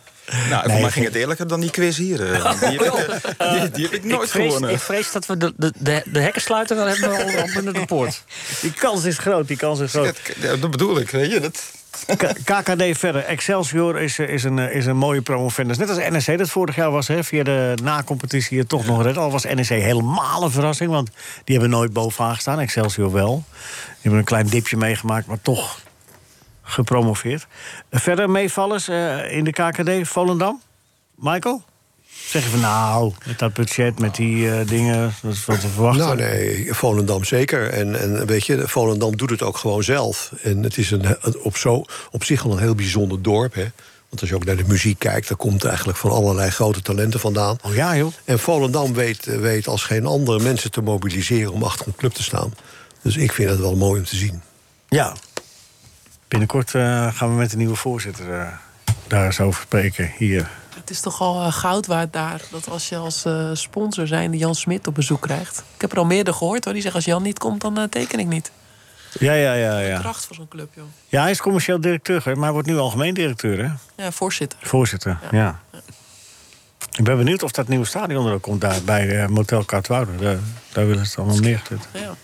Nou,
Nee,
voor mij
geen-
ging het eerlijker dan die quiz hier. eh, want die, heb ik, eh, die, die heb ik nooit
ik, vrees,
gewonnen.
ik vrees dat we de, de, de, de hekkensluiter wel hebben onder- onder de poort.
Die kans is groot, die kans is groot.
Ja, dat bedoel ik, weet je. Dat...
K- KKD verder. Excelsior is, eh, is, een, eh, is een mooie promovendus. Net als NEC dat vorig jaar was, hè, via de na-competitie het toch nog red. Al was NEC helemaal een verrassing, want die hebben nooit bovenaan gestaan. Excelsior wel. Die hebben een klein dipje meegemaakt, maar toch gepromoveerd. Eh, Verder meevallers eh, in de KKD, Volendam. Michael? Zeg je van nou, met dat budget, met die eh, dingen, dat is wat te verwachten.
Nou nee, Volendam zeker. En, en weet je, Volendam doet het ook gewoon zelf. En het is een, een- op, zo, op zich al een heel bijzonder dorp. Hè? Want als je ook naar de muziek kijkt, daar komt eigenlijk van allerlei grote talenten vandaan.
Oh ja, joh.
En Volendam weet, eh, weet als geen ander mensen te mobiliseren om achter een club te staan. Dus ik vind het wel mooi om te zien.
Ja. Binnenkort eh, gaan we met de nieuwe voorzitter eh, daar eens over spreken, hier.
Het is toch al eh, goud waard daar. Dat als je als eh, sponsor zijnde Jan Smit op bezoek krijgt. Ik heb er al meerdere gehoord hoor. Die zeggen als Jan niet komt, dan eh, teken ik niet.
Ja, ja, ja, ja.
Kracht voor zo'n club, joh.
Ja, hij is commercieel directeur, hè, maar hij wordt nu algemeen directeur, hè?
Ja, voorzitter.
Voorzitter, ja. Ik ben benieuwd of dat nieuwe stadion er ook komt daar bij eh, Motel Katwoude. Daar, daar willen ze het allemaal neerzetten.
Ja.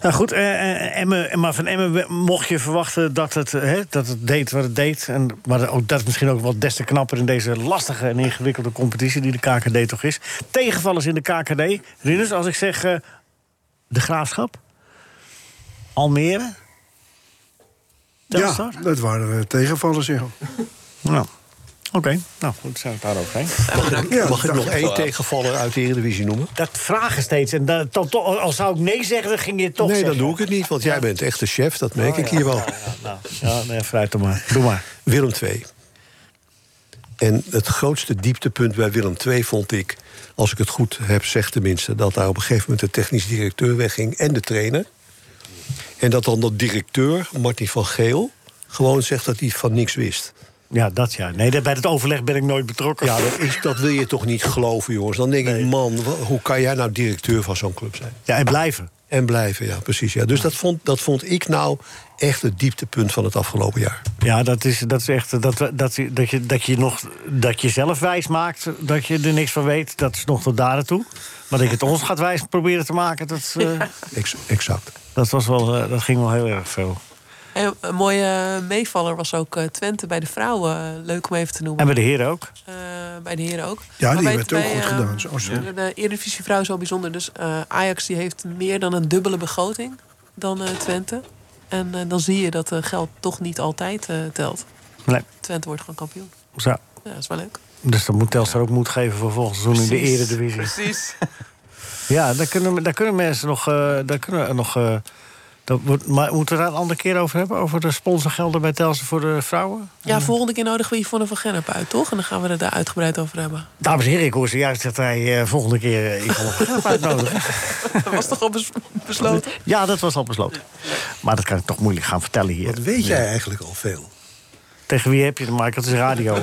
Nou goed, eh, eh, Emmen, eh, maar van Emmen we- mocht je verwachten dat het, eh, hè, dat het deed wat het deed. En, maar ook, dat is misschien ook wat des te knapper in deze lastige en ingewikkelde competitie die de KKD toch is. Tegenvallers in de KKD. Rinus, als ik zeg eh, de Graafschap, Almere,
Ja, dat waren eh, tegenvallers, ja.
Nou, oké. Nou, goed, zijn we het daarover heen.
Mag ik,
Ja,
mag ik
dat
nog
dacht ik
één
wel.
tegenvaller uit de Eredivisie noemen?
Dat vragen steeds. En dan, dan toch, al zou ik nee zeggen, dan ging je het toch
nee,
zeggen.
dan doe ik het niet, want jij bent echt de chef. Dat merk
Oh,
ik
ja.
hier wel.
Ja, ja, nou, ja, nee, vooruit dan maar. Doe maar.
Willem II. En het grootste dieptepunt bij Willem II vond ik... als ik het goed heb, zeg tenminste... dat daar op een gegeven moment de technisch directeur wegging en de trainer. En dat dan de directeur, Martin van Geel... gewoon zegt dat hij van niks wist.
Ja, dat ja. Nee, dat- bij het overleg ben ik nooit betrokken.
Ja, dat, is, dat wil je toch niet geloven, jongens. Dan denk ik, man, wa- hoe kan jij nou directeur van zo'n club zijn?
Ja, en blijven.
En blijven, ja, precies. Ja. Dus dat vond, dat vond ik nou echt het dieptepunt van het afgelopen jaar.
Ja, dat is, Dus dat is echt. Dat, dat, dat, je- dat, je, dat, je nog, dat je zelf wijs maakt dat je er niks van weet, dat is nog tot daar aan toe. Maar dat je het ons gaat wijs proberen te maken, dat, eh,
Ex- exact.
dat, was wel, eh, dat ging wel heel erg veel.
En een mooie meevaller was ook eh, Twente bij de vrouwen. eh, Leuk om even te noemen.
En bij de heren ook.
Eh, bij de heren ook.
Ja,
Maar
die
bij-
hebben het ook
bij,
goed
eh,
gedaan, zo, Oh, zo.
De, de Eredivisie vrouw is wel bijzonder. Dus eh, Ajax die heeft meer dan een dubbele begroting dan eh, Twente. En eh, dan zie je dat eh, geld toch niet altijd eh, telt.
Nee.
Twente wordt gewoon kampioen.
Zo.
Ja, dat is wel leuk.
Dus dat moet Telstar ook moed geven voor volgend seizoen in de
Precies.
Eredivisie.
Precies.
Ja, daar kunnen, daar kunnen mensen nog. eh, daar kunnen we nog eh, dat wordt, maar moeten we daar een andere keer over hebben? Over de sponsorgelden bij Telstar voor de vrouwen?
Ja, volgende keer nodigen we Yvonne van Gennep uit, toch? En dan gaan we het daar uitgebreid over hebben.
Dames en heren, ik hoor zojuist dat hij eh, volgende keer eh, Yvonne van Gennep uitnodigen.
Dat was toch al bes- besloten?
Ja, dat was al besloten. Maar dat kan ik toch moeilijk gaan vertellen hier. Wat
weet jij eigenlijk al veel?
Tegen wie heb je het, Michael? Het is radio.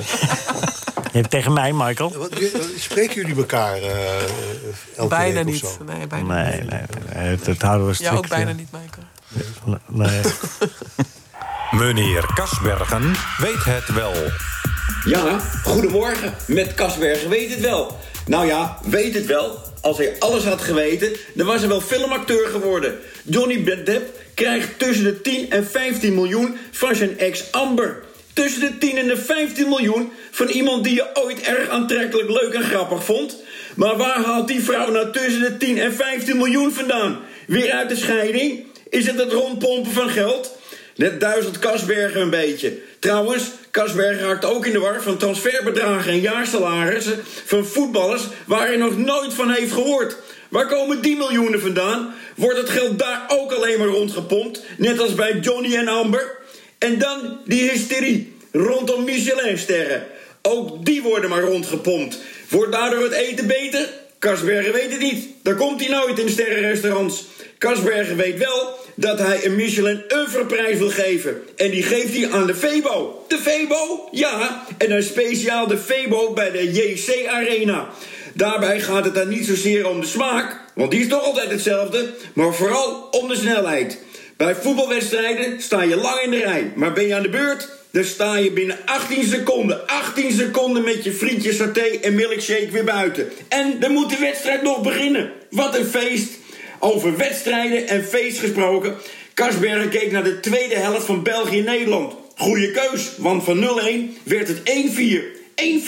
je hebt tegen mij, Michael.
Wat- eh, Spreken jullie elkaar eh, eh, elke
Bijna
week of
niet.
zo?
Nee,
Nee,
bijna
nee,
niet.
nee. Het, het houden we
Ja,
strikt.
ook bijna niet, Michael.
eh, Nee.
Meneer Kasbergen weet het wel.
Ja, goedemorgen. Met Kasbergen weet het wel. Nou ja, weet het wel. Als hij alles had geweten, dan was hij wel filmacteur geworden. Johnny Depp krijgt tussen de 10 en 15 miljoen van zijn ex Amber. Tussen de 10 en de 15 miljoen van iemand die je ooit erg aantrekkelijk, leuk en grappig vond. Maar waar haalt die vrouw nou tussen de 10 en 15 miljoen vandaan? Weer uit de scheiding? Is het het rondpompen van geld? Net duizend Kasbergen een beetje. Trouwens, Kasbergen raakt ook in de war van transferbedragen en jaarsalarissen van voetballers waar hij nog nooit van heeft gehoord. Waar komen die miljoenen vandaan? Wordt het geld daar ook alleen maar rondgepompt, net als bij Johnny en Amber? En dan die hysterie rondom Michelinsterren. Ook die worden maar rondgepompt. Wordt daardoor het eten beter? Kasbergen weet het niet. Daar komt hij nooit in sterrenrestaurants. Kasbergen weet wel dat hij een Michelin een verprijs wil geven. En die geeft hij aan de Febo. De Febo? Ja. En dan speciaal de Febo bij de JC Arena. Daarbij gaat het dan niet zozeer om de smaak, want die is toch altijd hetzelfde, maar vooral om de snelheid. Bij voetbalwedstrijden sta je lang in de rij. Maar ben je aan de beurt? Dan sta je binnen 18 seconden. 18 seconden met je frietje, saté en milkshake weer buiten. En dan moet de wedstrijd nog beginnen. Wat een feest. Over wedstrijden en feest gesproken. Kasbergen keek naar de tweede helft van België-Nederland. Goeie keus, want van 0-1 werd het 1-4.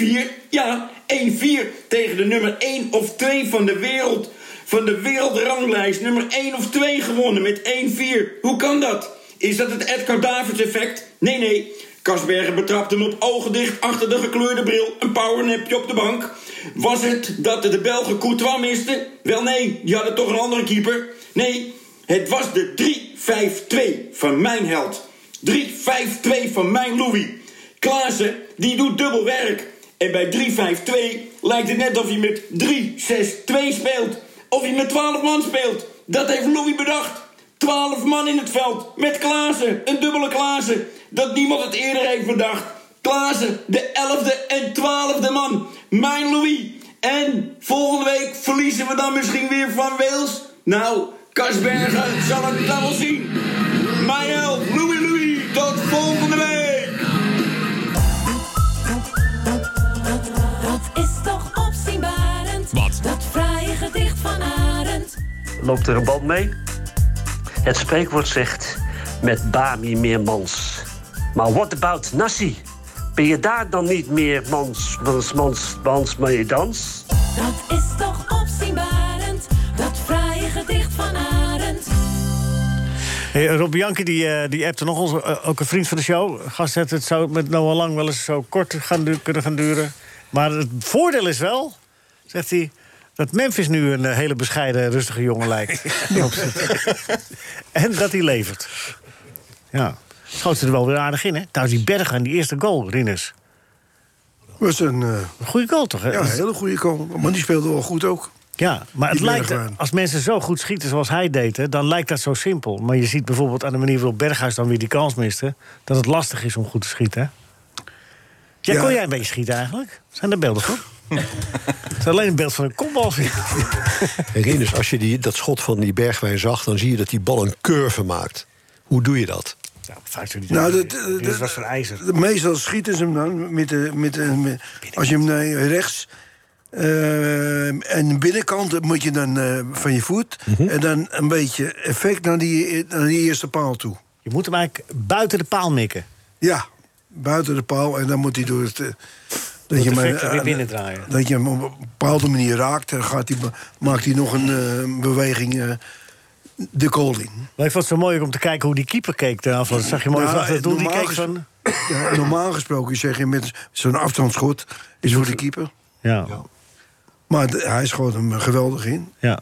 1-4, ja, 1-4 tegen de nummer 1 of 2 van de wereld. Van de wereldranglijst nummer 1 of 2 gewonnen met 1-4. Hoe kan dat? Is dat het Edgar Davids effect? Nee, nee. Kasbergen betrapte hem op ogen dicht achter de gekleurde bril. Een powernapje op de bank. Was het dat de Belgen Courtois misten? Wel nee, die hadden toch een andere keeper. Nee, het was de 3-5-2 van mijn held. 3-5-2 van mijn Louis. Klaassen, die doet dubbel werk. En bij 3-5-2 lijkt het net of hij met 3-6-2 speelt. Of hij met 12 man speelt. Dat heeft Louis bedacht. 12 man in het veld. Met Klaassen. Een dubbele Klaassen. Dat niemand het eerder heeft bedacht. Klaassen, de 11e en 12e man. Mijn Louis. En volgende week verliezen we dan misschien weer van Wales. Nou, Kasbergen zal het dan wel zien. Mijn help, Louis Louis. Tot volgende week.
Dat is toch opzienbarend? Wat? Dat fraaie gedicht van Arend.
loopt er een band mee. Het spreekwoord zegt met Bami meer mans. Maar what about Nassi? Ben je daar dan niet meer mans, mans, mans, mans mee dans?
Dat is toch opzienbarend? Dat fraaie gedicht van Arend.
Hey, Rob Bianchi die, eh, die appte nog ons, eh, ook een vriend van de show. Gast heeft het zou met Noah Lang wel eens zo kort gaan du- kunnen gaan duren. Maar het voordeel is wel, zegt hij, dat Memphis nu een eh, hele bescheiden, rustige jongen lijkt. en dat hij levert. Ja, schoot ze er wel weer aardig in, hè? Trouwens, die Bergen, die eerste goal, Rinus.
Was een eh,
goede goal, toch? hè?
Ja, een hele goede goal. Maar die speelde wel goed ook.
Ja, maar het
Die
lijkt,
Bergwijn.
als mensen zo goed schieten zoals hij deed, hè, dan lijkt dat zo simpel. Maar je ziet bijvoorbeeld aan de manier waarop Berghuis dan weer die kans miste, dat het lastig is om goed te schieten. hè? Ja,
Ja.
kon jij een beetje schieten eigenlijk? Zijn er beelden van? Het is alleen een beeld van een kopbal.
Herinner je, dus als je die, dat schot van die Bergwijn zag... dan zie je dat die bal een curve maakt. Hoe doe je dat?
Nou, dat,
eh,
Dit
dat-
was van ijzer.
Meestal schieten ze hem dan met de, met de, met- als je hem naar rechts eh, en de binnenkant dat moet je dan eh, van je voet
Mhm.
en dan een beetje effect naar die, eh, naar die eerste paal toe.
Je moet hem eigenlijk buiten de paal mikken.
Ja, buiten de paal en dan moet hij door het. eh,
Door het effect
eh,
er weer binnendraaien.
Dat je hem op een bepaalde manier raakt, dan gaat hij, maakt hij nog een eh, beweging eh, de goal in.
Maar ik vond het zo mooi om te kijken hoe die keeper keek ten afloop. Dat zag je mooi
Nou,
vanaf dat doel. Die
normaal
keek
ges-
van...
Ja, normaal gesproken zeg je met zo'n afstandsschot is voor de keeper.
Ja.
Maar de- hij schoot hem eh, geweldig in.
Ja.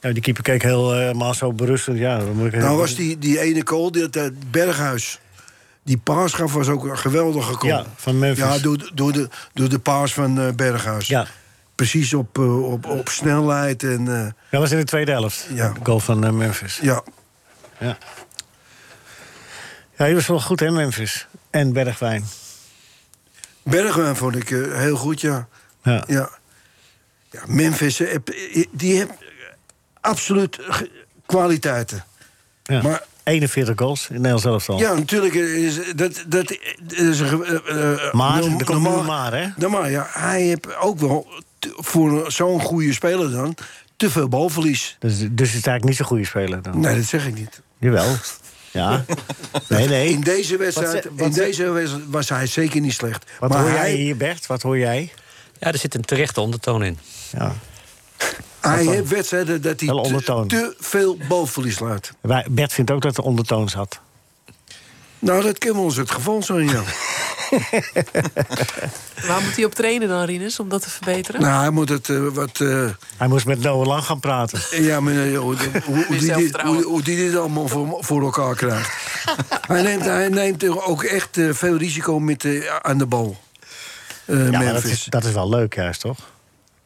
ja, die keeper keek eh, helemaal zo berustend. Ja, dan moet ik
Nou was die, die ene goal, die, dat Berghuis. Die paas gaf was ook een geweldige goal.
Ja, van Memphis.
Ja, door, door, de, door de paas van eh, Berghuis. Ja. Precies op, eh, op, op snelheid. En, eh,
Dat was in de tweede helft.
Ja.
De goal van eh, Memphis.
Ja.
ja. Ja, die was wel goed, hè, Memphis. En Bergwijn.
Bergwijn vond ik eh, heel goed, ja.
Ja.
ja. Ja, Memphis, eh, heb- eh, die heeft absoluut ge- kwaliteiten.
Ja.
Maar-
41 goals in Nederland zelf al.
Ja, natuurlijk. eh, Is, dat, dat is een... ge- eh, eh,
Maar,
norm-
er komt
normaal-
een maar, hè?
Nou, maar ja, hij heeft ook wel te- voor zo'n goede speler dan te veel balverlies.
Dus, dus het is eigenlijk niet zo'n goede speler dan.
Nee, dat zeg ik niet.
Jawel. Ja. Nee, nee.
In deze
Wat
wedstrijd,
ze-
in
wat ze-
deze wedstrijd was hij zeker niet slecht.
Wat
maar
hoor
hij,
jij hier, Bert? Wat hoor jij?
Ja, er zit een terechte ondertoon in.
Ja.
hij
Wat dan?
heeft wedstrijden dat hij
Wel
te,
ondertoon.
te veel balverlies laat.
Wij- Bert vindt ook dat er ondertoon zat.
Nou, dat kan wel eens het geval zijn, ja.
Waar moet hij op trainen dan, Rinus, om dat te verbeteren?
nou, hij moet het eh, wat... eh,
Hij moest met Noah Lang gaan praten.
Ja, maar eh, hoe, hoe, hoe, die, dit,
zelfvertrouwen.
hoe, hoe die dit allemaal voor, voor elkaar krijgt. hij, neemt, hij neemt ook echt eh, veel risico met, eh, aan de bal. Eh,
ja, maar dat
Memphis.
is, dat is wel leuk juist, toch?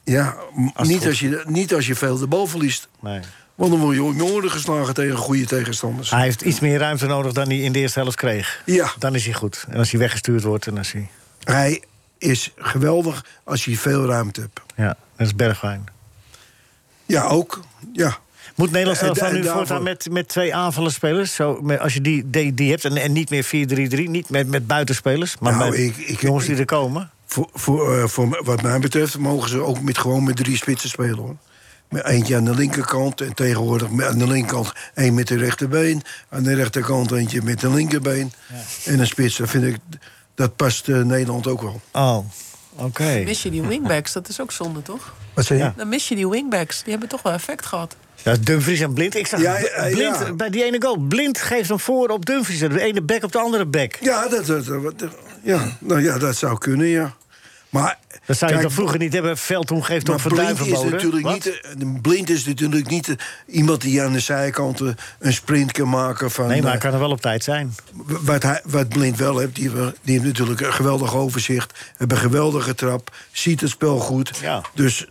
Ja, m-
Als het
niet,
goed-
als je, niet als je veel de bal verliest.
Nee.
Want dan word je om je oren geslagen tegen goede tegenstanders.
Hij heeft iets meer ruimte nodig dan hij in de eerste helft kreeg.
Ja.
Dan is hij goed. En als hij weggestuurd wordt, dan is hij...
Hij is geweldig als je veel ruimte hebt.
Ja, dat is Bergwijn.
Ja, ook. Ja.
Moet Nederland
En-
zelf dan
en
nu
eh, daarvoor-
voortaan met, met twee aanvallende spelers? Zo, met- als je die, die, die hebt en, en niet meer 4-3-3, niet met, met buitenspelers, maar
Nou,
met
ik- ik-
jongens die
ik-
er komen.
Voor, voor, eh, voor m- wat mij betreft mogen ze ook met, gewoon met drie spitsen spelen. Hoor. Met eentje aan de linkerkant en tegenwoordig met- aan de linkerkant één met de rechterbeen. Aan de rechterkant eentje met de linkerbeen. En een spits, dat vind ik, dat past eh, Nederland ook wel.
Oh, oké.
Mis je die wingbacks, dat is ook zonde, toch?
Wat zei je?
Dan mis je die wingbacks, die hebben toch wel effect gehad.
Ja, Dumfries en Blind. Ik zag
Ja, ja, ja.
Blind bij die ene goal. Blind geeft hem voor op Dumfries. De ene bek op de andere bek.
Ja, dat, dat, dat- dat- ja. Nou, ja, dat zou kunnen, ja. Maar,
Dat zou je
kijk,
toch vroeger niet hebben? Veldhoen geeft op
maar
Van Duin
blind is,
verboden.
natuurlijk
Wat?
niet, eh, blind is natuurlijk niet eh, iemand die aan de zijkant eh, een sprint kan maken. Van,
Nee, maar
eh,
hij kan er wel op tijd zijn.
wat, hij, wat Blind wel heeft, die, die heeft natuurlijk een geweldig overzicht. Heeft een geweldige trap, ziet het spel goed. Dus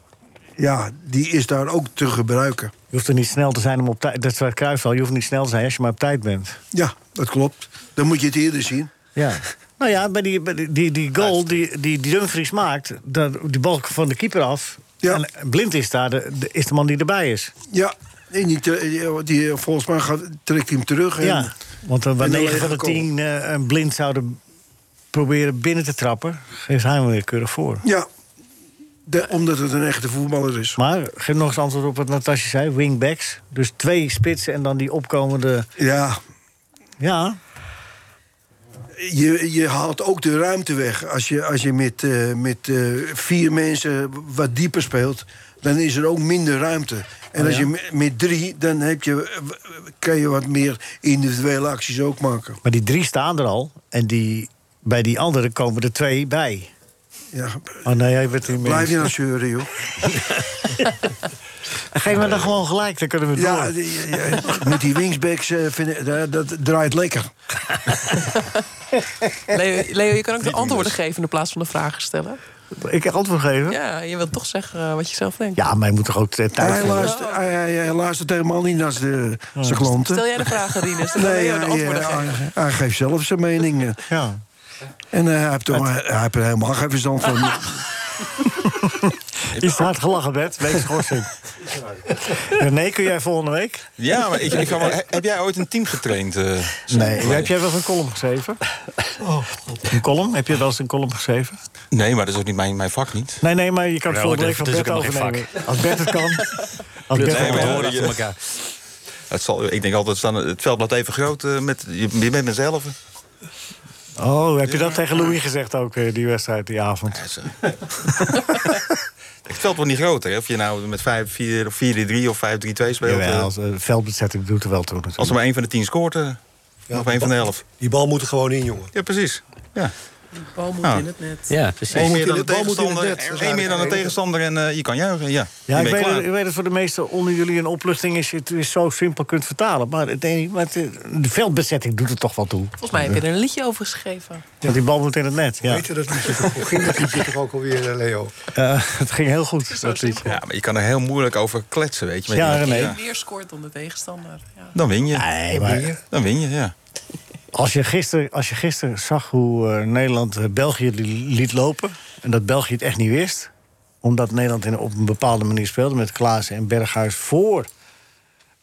ja, die is daar ook te gebruiken.
Je hoeft er niet snel te zijn om op tijd... Dat is waar Cruijff al. Je hoeft niet snel te zijn als je maar op tijd bent.
Ja, dat klopt. Dan moet je het eerder zien.
Ja. Nou ja, bij die, bij die, die, die goal die, die, die Dumfries maakt, dat, die bal van de keeper af. En blind is daar de, de- is de man die erbij is.
Ja, nee, niet, eh, die, volgens mij gaat, trekt hij hem terug. En,
ja, want eh, waar
en dan
9 van de
lege goal.
10 eh, een blind zouden proberen binnen te trappen, geeft hij hem weer keurig voor.
Ja, de- omdat het een echte voetballer is.
Maar geef nog eens antwoord op wat Natasja zei: wingbacks. Dus twee spitsen en dan die opkomende.
Ja.
Ja.
Je, je haalt ook de ruimte weg. Als je, als je met, eh, met eh, vier mensen wat dieper speelt, dan is er ook minder ruimte. En
Oh,
als
ja.
je me- met drie, dan heb je, eh, w- kan je wat meer individuele acties ook maken.
Maar die drie staan er al. En die, bij die andere komen er twee bij.
Ja.
Oh nee, jij bent niet mee.
Blijf je nou zeuren, joh.
Geef me dan gewoon gelijk, dan kunnen we
Ja,
door.
die- ja, met die wingsbacks, eh, vind ik- dat, dat draait lekker.
Leo, Leo, je kan ook de antwoorden geven in plaats van de vragen stellen.
Ik heb antwoord gegeven.
Ja, je wilt toch zeggen eh, wat je zelf denkt.
Ja, maar je moet toch ook eh, tijd
Hij
hebben.
luistert, hij, hij, hij luistert helemaal niet naar zijn zijn klanten.
Stel jij de vragen, Rinus. Dan kan
Nee,
Leo de
hij,
antwoorden
eh,
geven.
hij- hij geeft zelf zijn mening.
Ja.
En eh, hij, heeft toch, hij heeft er helemaal geen verstand van.
Is te hard gelachen, Bert. Week schorsing. Nee, kun jij volgende week?
Ja, maar ik, ik kan wel, he- heb jij ooit een team getraind? eh, zo?
Nee. Heb jij wel eens een column geschreven?
Oh.
Een column? Heb je wel eens een column geschreven?
Nee, maar dat is ook niet mijn, mijn vak niet.
Nee, nee, maar je kan
Ja,
het volgende week van
want het
Bert
is ook helemaal geen
overnemen. Als Bert het kan. Als
Nee,
Bert het
maar
kan.
hoor, je- Het zal, ik denk altijd, staan, het veld blijft even groot. eh, met, eh. je, je bent mezelf.
Oh, heb je dat tegen Louis gezegd ook, eh, die wedstrijd die avond?
Het veld wordt niet groter. Hè? Of je nou met 5, 4 of 4-3 of 5-3-2 speelt.
Jawel,
eh,
als, eh, veldbezetting doet er wel toe natuurlijk.
als er maar één van de tien scoort, eh, of één van de elf.
Die bal moet er gewoon in, jongen.
Ja, precies. Ja.
Die bal moet
Ja.
in het net.
Ja,
Ah. Eén meer dan de
de bal moet in het
tegenstander,
net.
één meer dan de tegenstander en eh, je kan juichen. Ja,
Ja,
je
ik
bent
weet,
klaar.
dat, ik weet dat voor de meesten onder jullie een opluchting is... het is zo simpel kunt vertalen. Maar, het, enige- maar het- de veldbezetting doet het toch wel toe.
Volgens mij heb je er een liedje over geschreven.
Want die bal moet in het net. Ja.
Weet je dat liedje? toch? Hoe ging dat liedje toch ook alweer, eh, Leo?
Eh, het ging heel goed. Dat liedje.
Ja, maar je kan er heel moeilijk over kletsen, weet je. Met
Ja,
die-
René.
ja.
Meer scoort dan de tegenstander. Ja.
Dan win je.
Nee, maar-
Dan win je, ja.
Als je gisteren als je gisteren zag hoe eh, Nederland eh, België li- liet lopen... en dat België het echt niet wist... omdat Nederland in, op een bepaalde manier speelde... met Klaassen en Berghuis voor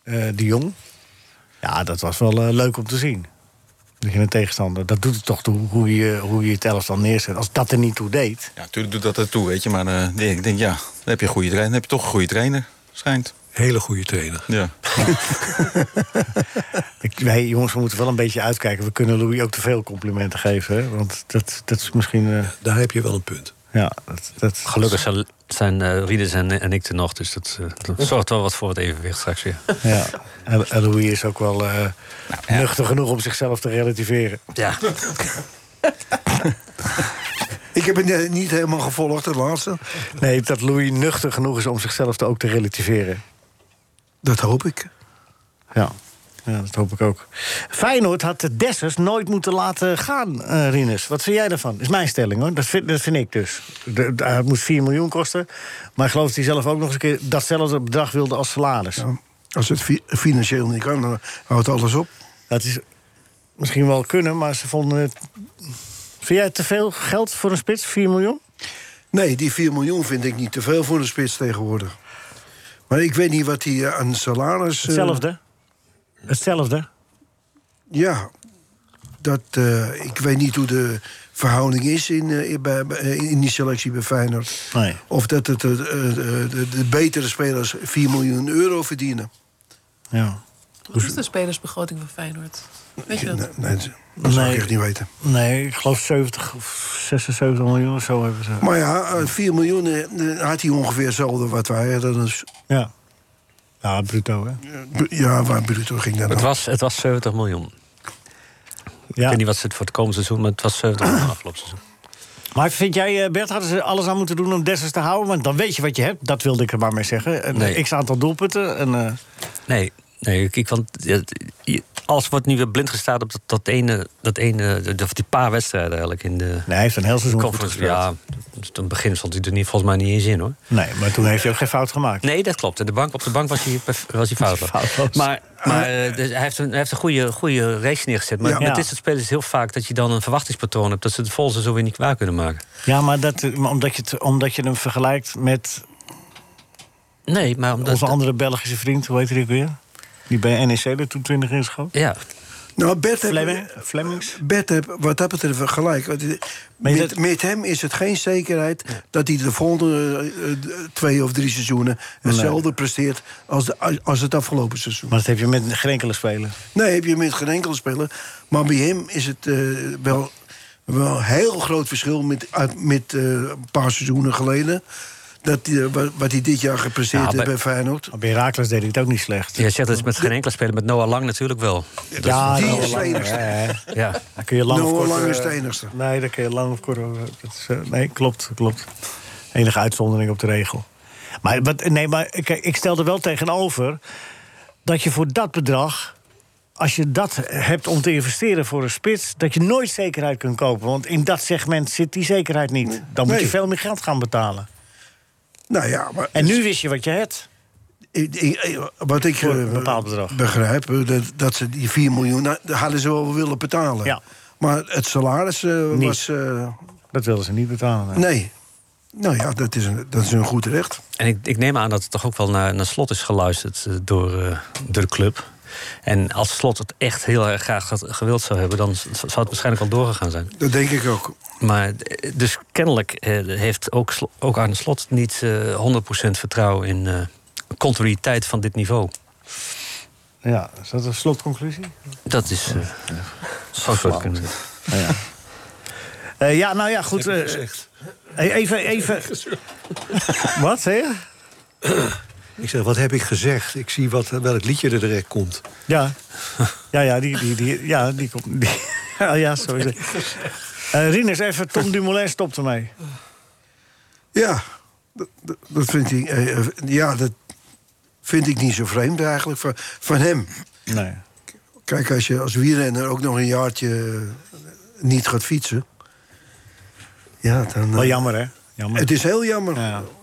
eh, de Jong... ja, dat was wel eh, leuk om te zien. Dat je een tegenstander... dat doet het toch toe hoe je, hoe je het elftal neerzet. Als dat er niet toe deed...
Ja, natuurlijk doet dat ertoe, weet je. Maar eh, nee, ik denk, ja, dan heb je, een goede trainer, dan heb je toch een goede trainer, schijnt.
Hele goede trainer.
Ja.
Ik, wij jongens, we moeten wel een beetje uitkijken. We kunnen Louis ook te veel complimenten geven. Hè? Want dat, dat is misschien... eh,
Daar heb je wel een punt.
ja, dat, dat,
Gelukkig zijn, zijn eh, Rieders en, en ik er nog, dus dat, eh, dat zorgt wel wat voor het evenwicht straks weer.
Ja, en, en Louis is ook wel eh, nuchter genoeg om zichzelf te relativeren.
Ja.
Ik heb het eh, niet helemaal gevolgd, het laatste.
Nee, dat Louis nuchter genoeg is om zichzelf te ook te relativeren.
Dat hoop ik.
Ja. ja, dat hoop ik ook. Feyenoord had de Dessers nooit moeten laten gaan, eh Rinus. Wat vind jij daarvan? Is mijn stelling, hoor. Dat vind, dat vind ik dus. De, de- het moest 4 miljoen kosten. Maar ik geloof dat hij zelf ook nog eens een keer datzelfde bedrag wilde als salaris.
Als het fi- financieel niet kan, dan houdt alles op.
Dat is misschien wel kunnen, maar ze vonden het... Vind jij te veel geld voor een spits, 4 miljoen?
Nee, die 4 miljoen vind ik niet te veel voor een spits tegenwoordig. Maar ik weet niet wat hij aan salaris... eh,
Hetzelfde. Hetzelfde.
Ja, dat, eh, ik weet niet hoe de verhouding is in, eh, bij- bij- in die selectie bij Feyenoord.
Nee.
Of dat het, eh, eh, de, de betere spelers 4 miljoen euro verdienen.
Ja.
Wat is de spelersbegroting van Feyenoord? Weet je dat?
Nee, dat zou ik echt niet weten.
Nee, ik geloof 70 of 76 miljoen of zo hebben ze.
Maar ja, eh, 4 miljoen eh, eh, had hij ongeveer hetzelfde wat wij hadden. Dus,
Ja. Ja, bruto, hè?
b- ja, waar Bruto ging dat
Het
nou?
was, het was 70 miljoen. Ik weet niet wat ze het voor het komende seizoen, maar het was 70 miljoen afgelopen seizoen.
Maar vind jij, eh, Bert, hadden ze alles aan moeten doen om Dessers te houden? Want dan weet je wat je hebt, dat wilde ik er maar mee zeggen. Een
Nee.
x-aantal doelpunten. En, eh,
Nee, nee, kijk, want ja, je- alles wordt nu weer blind gestaat op dat, dat ene, dat ene of die paar wedstrijden eigenlijk in de. Nee,
hij heeft een heel seizoen goed gespeeld.
Ja, ten begin stond hij er niet, volgens mij niet eens in hoor.
Nee, maar toen heeft hij ook geen fout gemaakt.
Nee, dat klopt. En De bank, op de bank was hij, perf- was hij foutloos. Maar, maar eh, dus hij, heeft een, hij heeft een goede, goede race neergezet. Maar
Ja.
met
Ja.
dit soort spelers is heel vaak dat je dan een verwachtingspatroon hebt... dat ze het volgende seizoen weer niet waar kunnen maken.
Ja, maar, dat, eh, maar omdat, je het, omdat je hem vergelijkt met
Nee, maar omdat...
onze andere Belgische vriend, hoe heet hij ook weer? Die bij NEC er toen 20 in schoot.
Ja.
Nou, Bert heb-
Flemming- Flemings?
Bert heb wat dat betreft wel gelijk. Want, eh, Met, met hem is het geen zekerheid dat hij de volgende eh, eh, twee of drie seizoenen hetzelfde presteert als, de, als- als het afgelopen seizoen.
Maar dat heb je met geen enkele speler.
Nee, heb je met geen enkele speler. Maar bij hem is het eh, wel, wel een heel groot verschil met, uit- met eh, een paar seizoenen geleden. Dat, die, eh, wat- wat hij dit jaar gepresteerd
Nou,
heeft
bij-
bij Feyenoord.
Bij Herakles deed hij het ook niet slecht.
Je zegt dat is met geen enkele speler, met Noah Lang natuurlijk wel. Dat is-
Ja,
die
Noah
is de
Lang,
enigste.
ja, ja.
Ja.
Daar kun je lang
Noah
of kort,
Lang
eh,
is de enigste.
Nee, daar kun je lang of kort over. Dat is, eh, nee, klopt, klopt. Enige uitzondering op de regel. Maar, wat, nee, maar kijk, ik stel er wel tegenover dat je voor dat bedrag. Als je dat hebt om te investeren voor een spits, dat je nooit zekerheid kunt kopen. Want in dat segment zit die zekerheid niet. Dan moet je
Nee.
veel meer geld gaan betalen.
Nou ja, maar
En nu wist je wat je hebt.
Ik- ik- ik- wat ik
Voor
eh,
een bepaald bedrag.
begrijp, eh, dat, dat ze die 4 miljoen nou, dat hadden ze wel willen betalen.
Ja.
Maar het salaris eh,
Niet.
was. eh,
Dat wilden ze niet betalen.
nee. Nou ja, dat is een, dat is een goed recht.
En ik, ik neem aan dat het toch ook wel naar, naar slot is geluisterd eh, door, eh, door de club. En als slot het echt heel erg graag had- gewild zou hebben, dan z- zou het waarschijnlijk al doorgegaan zijn.
Dat denk ik ook.
Maar eh, dus kennelijk eh, heeft ook, Slo- ook aan de slot niet eh, 100% vertrouwen in eh, continuïteit van dit niveau.
Ja, is dat een slotconclusie?
Dat is. eh zou zo kunnen zijn.
Ah, Eh, ja, nou ja, goed. eh, eh, even, even. Wat, zei je?
Ik zeg, wat heb ik gezegd? Ik zie wat, eh, welk liedje er direct komt.
Ja. Ja, ja, die, die, die, ja, die komt. Die, ja, ja, zo is het. Eh, Rinus, even, Tom Dumoulin stopt ermee.
Ja, dat, dat- dat vind ik. eh, eh, ja, dat vind ik niet zo vreemd eigenlijk van, van hem.
Nee.
Kijk, als je als wielrenner ook nog een jaartje eh, niet gaat fietsen. Ja, dan. eh,
Wel jammer, hè? Jammer.
Het is heel jammer.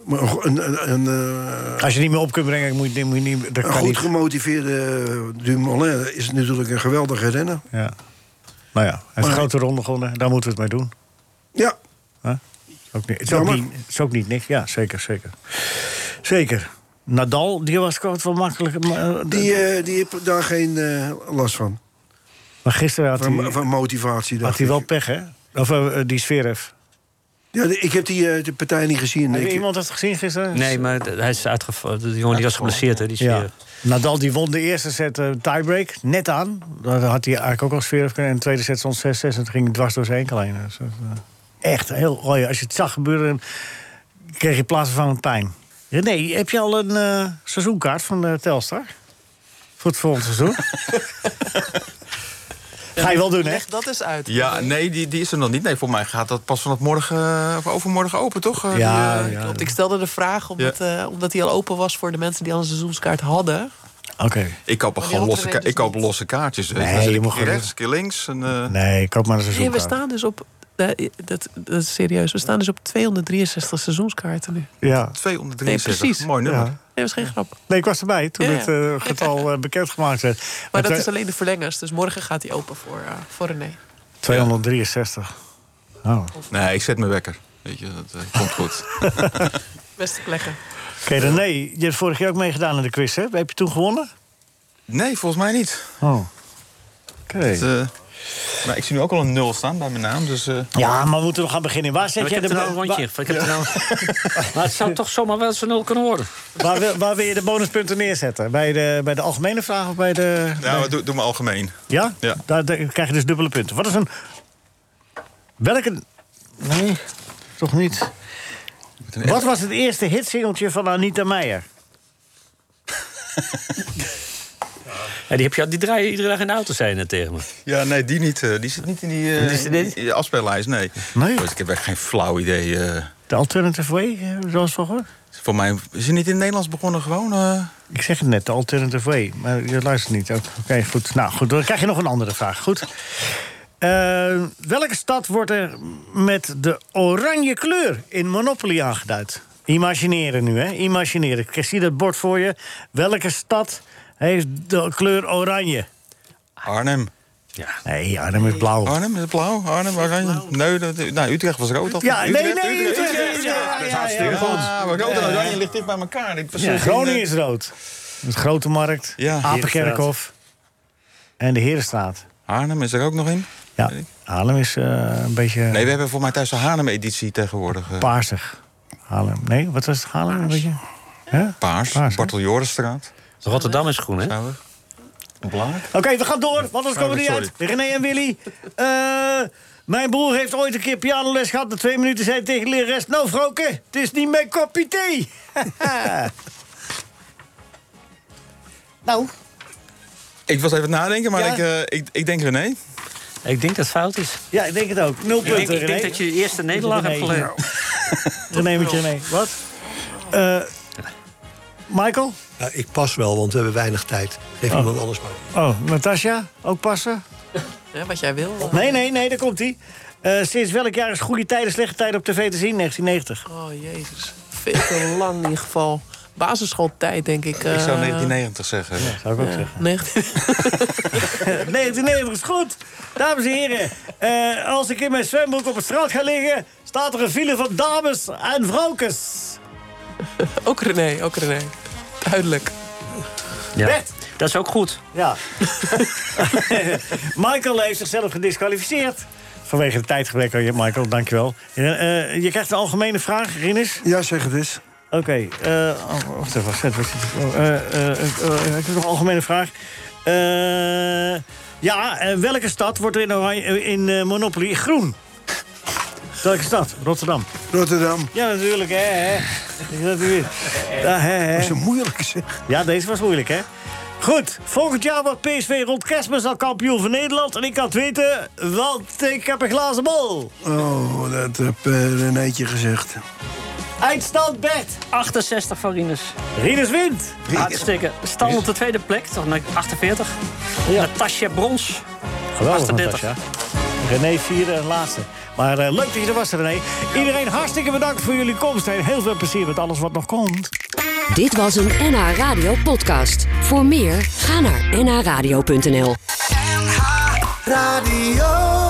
Maar een, een, een, eh,
Als je niet meer op kunt brengen, moet je, moet je niet.
een
Dat kan
goed
niet.
gemotiveerde eh, Dumoulin is natuurlijk een geweldige renner.
Ja. Nou ja, hij heeft een grote ronde gewonnen. Daar moeten we het mee doen.
Ja.
Huh? Ook niet, het, is ook
Jammer.
niet, het is ook niet niks. Ja, zeker, zeker. Zeker. Nadal, die was gewoon wel makkelijk. maar, eh,
Die, eh, die heeft daar geen eh, last van.
Maar gisteren had
van,
hij,
van motivatie.
had
dacht
hij wel
ik.
pech, hè? Of eh, die Zverev.
Ja, de- ik heb die eh, de partij niet gezien.
Heb
Ik-
iemand dat gezien gisteren?
Nee, maar d- hij is uitgevallen. De jongen die was geblesseerd, hè? Die is
Ja.
weer-
Nadal die won de eerste set eh, tiebreak, net aan. Daar had hij eigenlijk ook al sfeer kunnen. En de tweede set stond 6-6 en het ging hij dwars door zijn enkel heen. Dus, dat, eh, echt heel mooi. Als je het zag gebeuren, kreeg je plaatsvervangend pijn. René, heb je al een eh, seizoenkaart van eh, Telstar? Voor het volgende seizoen? Ga je wel doen, hè?
Leg dat eens uit.
Ja, nee, die, die is er nog niet. Nee, voor mij gaat dat pas vanaf morgen eh, of overmorgen open, toch? Eh,
Ja,
die, eh,
ja.
Want ik stelde de vraag omdat, eh, omdat die al open was voor de mensen die al een seizoenskaart hadden.
Oké.
Ik koop gewoon
Maar die hadden
losse,
we
ka-
dus
ik koop losse kaartjes. weet
Nee,
Dan zet
je
ik
mag
een keer
gewoon-
rechts, een keer links. En, eh,
Nee, koop
Nee,
maar een
we
seizoenkaart.
staan dus op. eh, dat, dat is serieus. We staan dus op 263 seizoenskaarten nu.
Ja.
263.
Nee, precies.
Mooi nummer.
Ja.
Nee, dat is geen grap.
Nee, ik was erbij toen
Ja, ja.
het eh, getal eh, bekendgemaakt werd.
Maar
Het,
dat
eh,
is alleen de verlengers. Dus morgen gaat die open voor, eh, voor René.
263. Oh.
Nee, ik zet mijn wekker. Weet je, dat eh, komt goed.
Beste plekken.
Oké, René, je hebt vorig jaar ook meegedaan aan de quiz, hè? Heb je toen gewonnen?
Nee, volgens mij niet.
Oh. Oké.
Het, eh, maar ik zie nu ook al een nul staan bij mijn naam. Dus, eh,
Ja, maar we moeten nog gaan beginnen. Waar zet
Maar ik
jij
heb
de
er nou een
bo-
rondje. Ik heb er nou... maar het zou toch zomaar wel zo'n nul kunnen worden.
Waar, waar, wil, waar wil je de bonuspunten neerzetten? Bij de, bij de algemene vraag of bij de...
nou, doe, doe maar algemeen.
Ja?
Ja.
Daar, daar krijg je dus dubbele punten. Wat is een... Welke... Nee, toch niet. Wat was het eerste hitsingeltje van Anita Meijer?
Ja, die, heb je, die draai je iedere dag in de auto, zei je net tegen me.
Ja, nee, die niet. eh, die zit niet in die, eh
Die zit
in die afspeellijst, nee.
Nee?
Dus ik heb echt geen flauw idee. eh.
De Alternative Way, eh, zoals van gehoord?
Voor mij is hij niet in het Nederlands begonnen gewoon. eh,
Ik zeg het net, de alternative way. Maar je luistert niet. Oké, oké, goed. Nou, goed. Dan krijg je nog een andere vraag. Goed. Eh, welke stad wordt er met de oranje kleur in Monopoly aangeduid? Imagineren nu, hè? Imagineren. Ik zie dat bord voor je. Welke stad heeft de kleur oranje?
Arnhem.
Ja. Nee, Arnhem is blauw.
Arnhem is blauw. Arnhem, oranje. Nee, dat, nou, Utrecht was rood. Of
Ja,
niet?
nee,
Utrecht,
nee,
Utrecht,
Utrecht,
Utrecht,
Utrecht, ja,
Dat is
ja,
hartstikke
ja.
goed.
Ja,
Maar rood en
ja, ja.
oranje ligt dicht bij elkaar. Dit was
Ja,
een-
Groningen is rood. Het Grote Markt,
eh, Ja.
Apenkerkhof en de Herenstraat.
Arnhem is er ook nog in.
Ja, Haarlem is eh, een beetje
Nee, we hebben voor mij thuis de Haarlem-editie tegenwoordig. eh.
paarsig. Haarlem. Nee, wat was het?
Ah,
Haarlem een beetje? Hè?
Paars, Bartel Jorisstraat.
Rotterdam is groen, hè?
Belangrijk.
Oké, we gaan door, want anders komen we niet
Oh, Sorry.
uit. René en Willy. Eh, mijn broer heeft ooit een keer pianoles gehad. Na twee minuten zei hij tegen de lerares... Nou, Vroken, het is niet mijn kopje thee. nou,
Ik was even aan het nadenken, maar
Ja.
ik, eh, ik, ik denk René.
Ik denk dat het fout is.
ja, ik denk het ook. Nul
Ik denk,
punten,
ik denk
René.
dat je de eerste nederlaag hebt
René.
geleden.
René met je mee. Wat? Eh, Michael?
Ja, ik pas wel, want we hebben weinig tijd. Geef
Oh.
iemand anders maar.
Oh, Natasja? Ook passen?
Ja, wat jij wil.
Nee, nee, nee, daar komt hij. sinds welk jaar is goede tijden, slechte tijden op tv te zien? 1990.
Oh, jezus. Veel te lang in ieder geval. Basisschooltijd, denk ik.
Ik zou
eh,
1990 zeggen. Ja,
zou ik ook zeggen.
19
1990 is goed. Dames en heren, eh, als ik in mijn zwembroek op het strand ga liggen... staat er een file van dames en vrouwkes.
ook René, ook René. Duidelijk.
Ja.
Bert.
Dat is ook goed.
Ja. Michael heeft zichzelf gedisqualificeerd. Vanwege de tijdgebrek, oh, Michael, dankjewel. Eh eh, je krijgt een algemene vraag, Rinus.
Ja, zeg het eens.
Oké, eh, oh, wacht even, wacht even. wacht even. Oh, eh, eh, eh, eh, ik heb nog een algemene vraag. Eh, ja, en welke stad wordt er in, Oranje- eh, in eh, Monopoly groen? Welke stad? Rotterdam.
Rotterdam.
Ja, natuurlijk, hè. hè. Ik weet Dat u weet. Ja, hè, hè.
Dat is een moeilijke zeg.
Ja, deze was moeilijk, hè? Goed, volgend jaar wordt PSV rond kerstmis al kampioen van Nederland. En ik kan het weten, want ik heb een glazen bol.
Oh, dat heb eh Renéetje gezegd.
Eindstand, Bert.
68 voor Rinus.
Rinus wint.
Hartstikke. Stam op de tweede plek, toch? Met 48. Natasja Brons.
Geweldig,
38.
Natasja. René vierde en laatste. Maar eh, leuk dat je er was, René. Iedereen hartstikke bedankt voor jullie komst. En heel veel plezier met alles wat nog komt.
Dit was een NH Radio podcast. Voor meer, ga naar nhradio.nl.
Radio.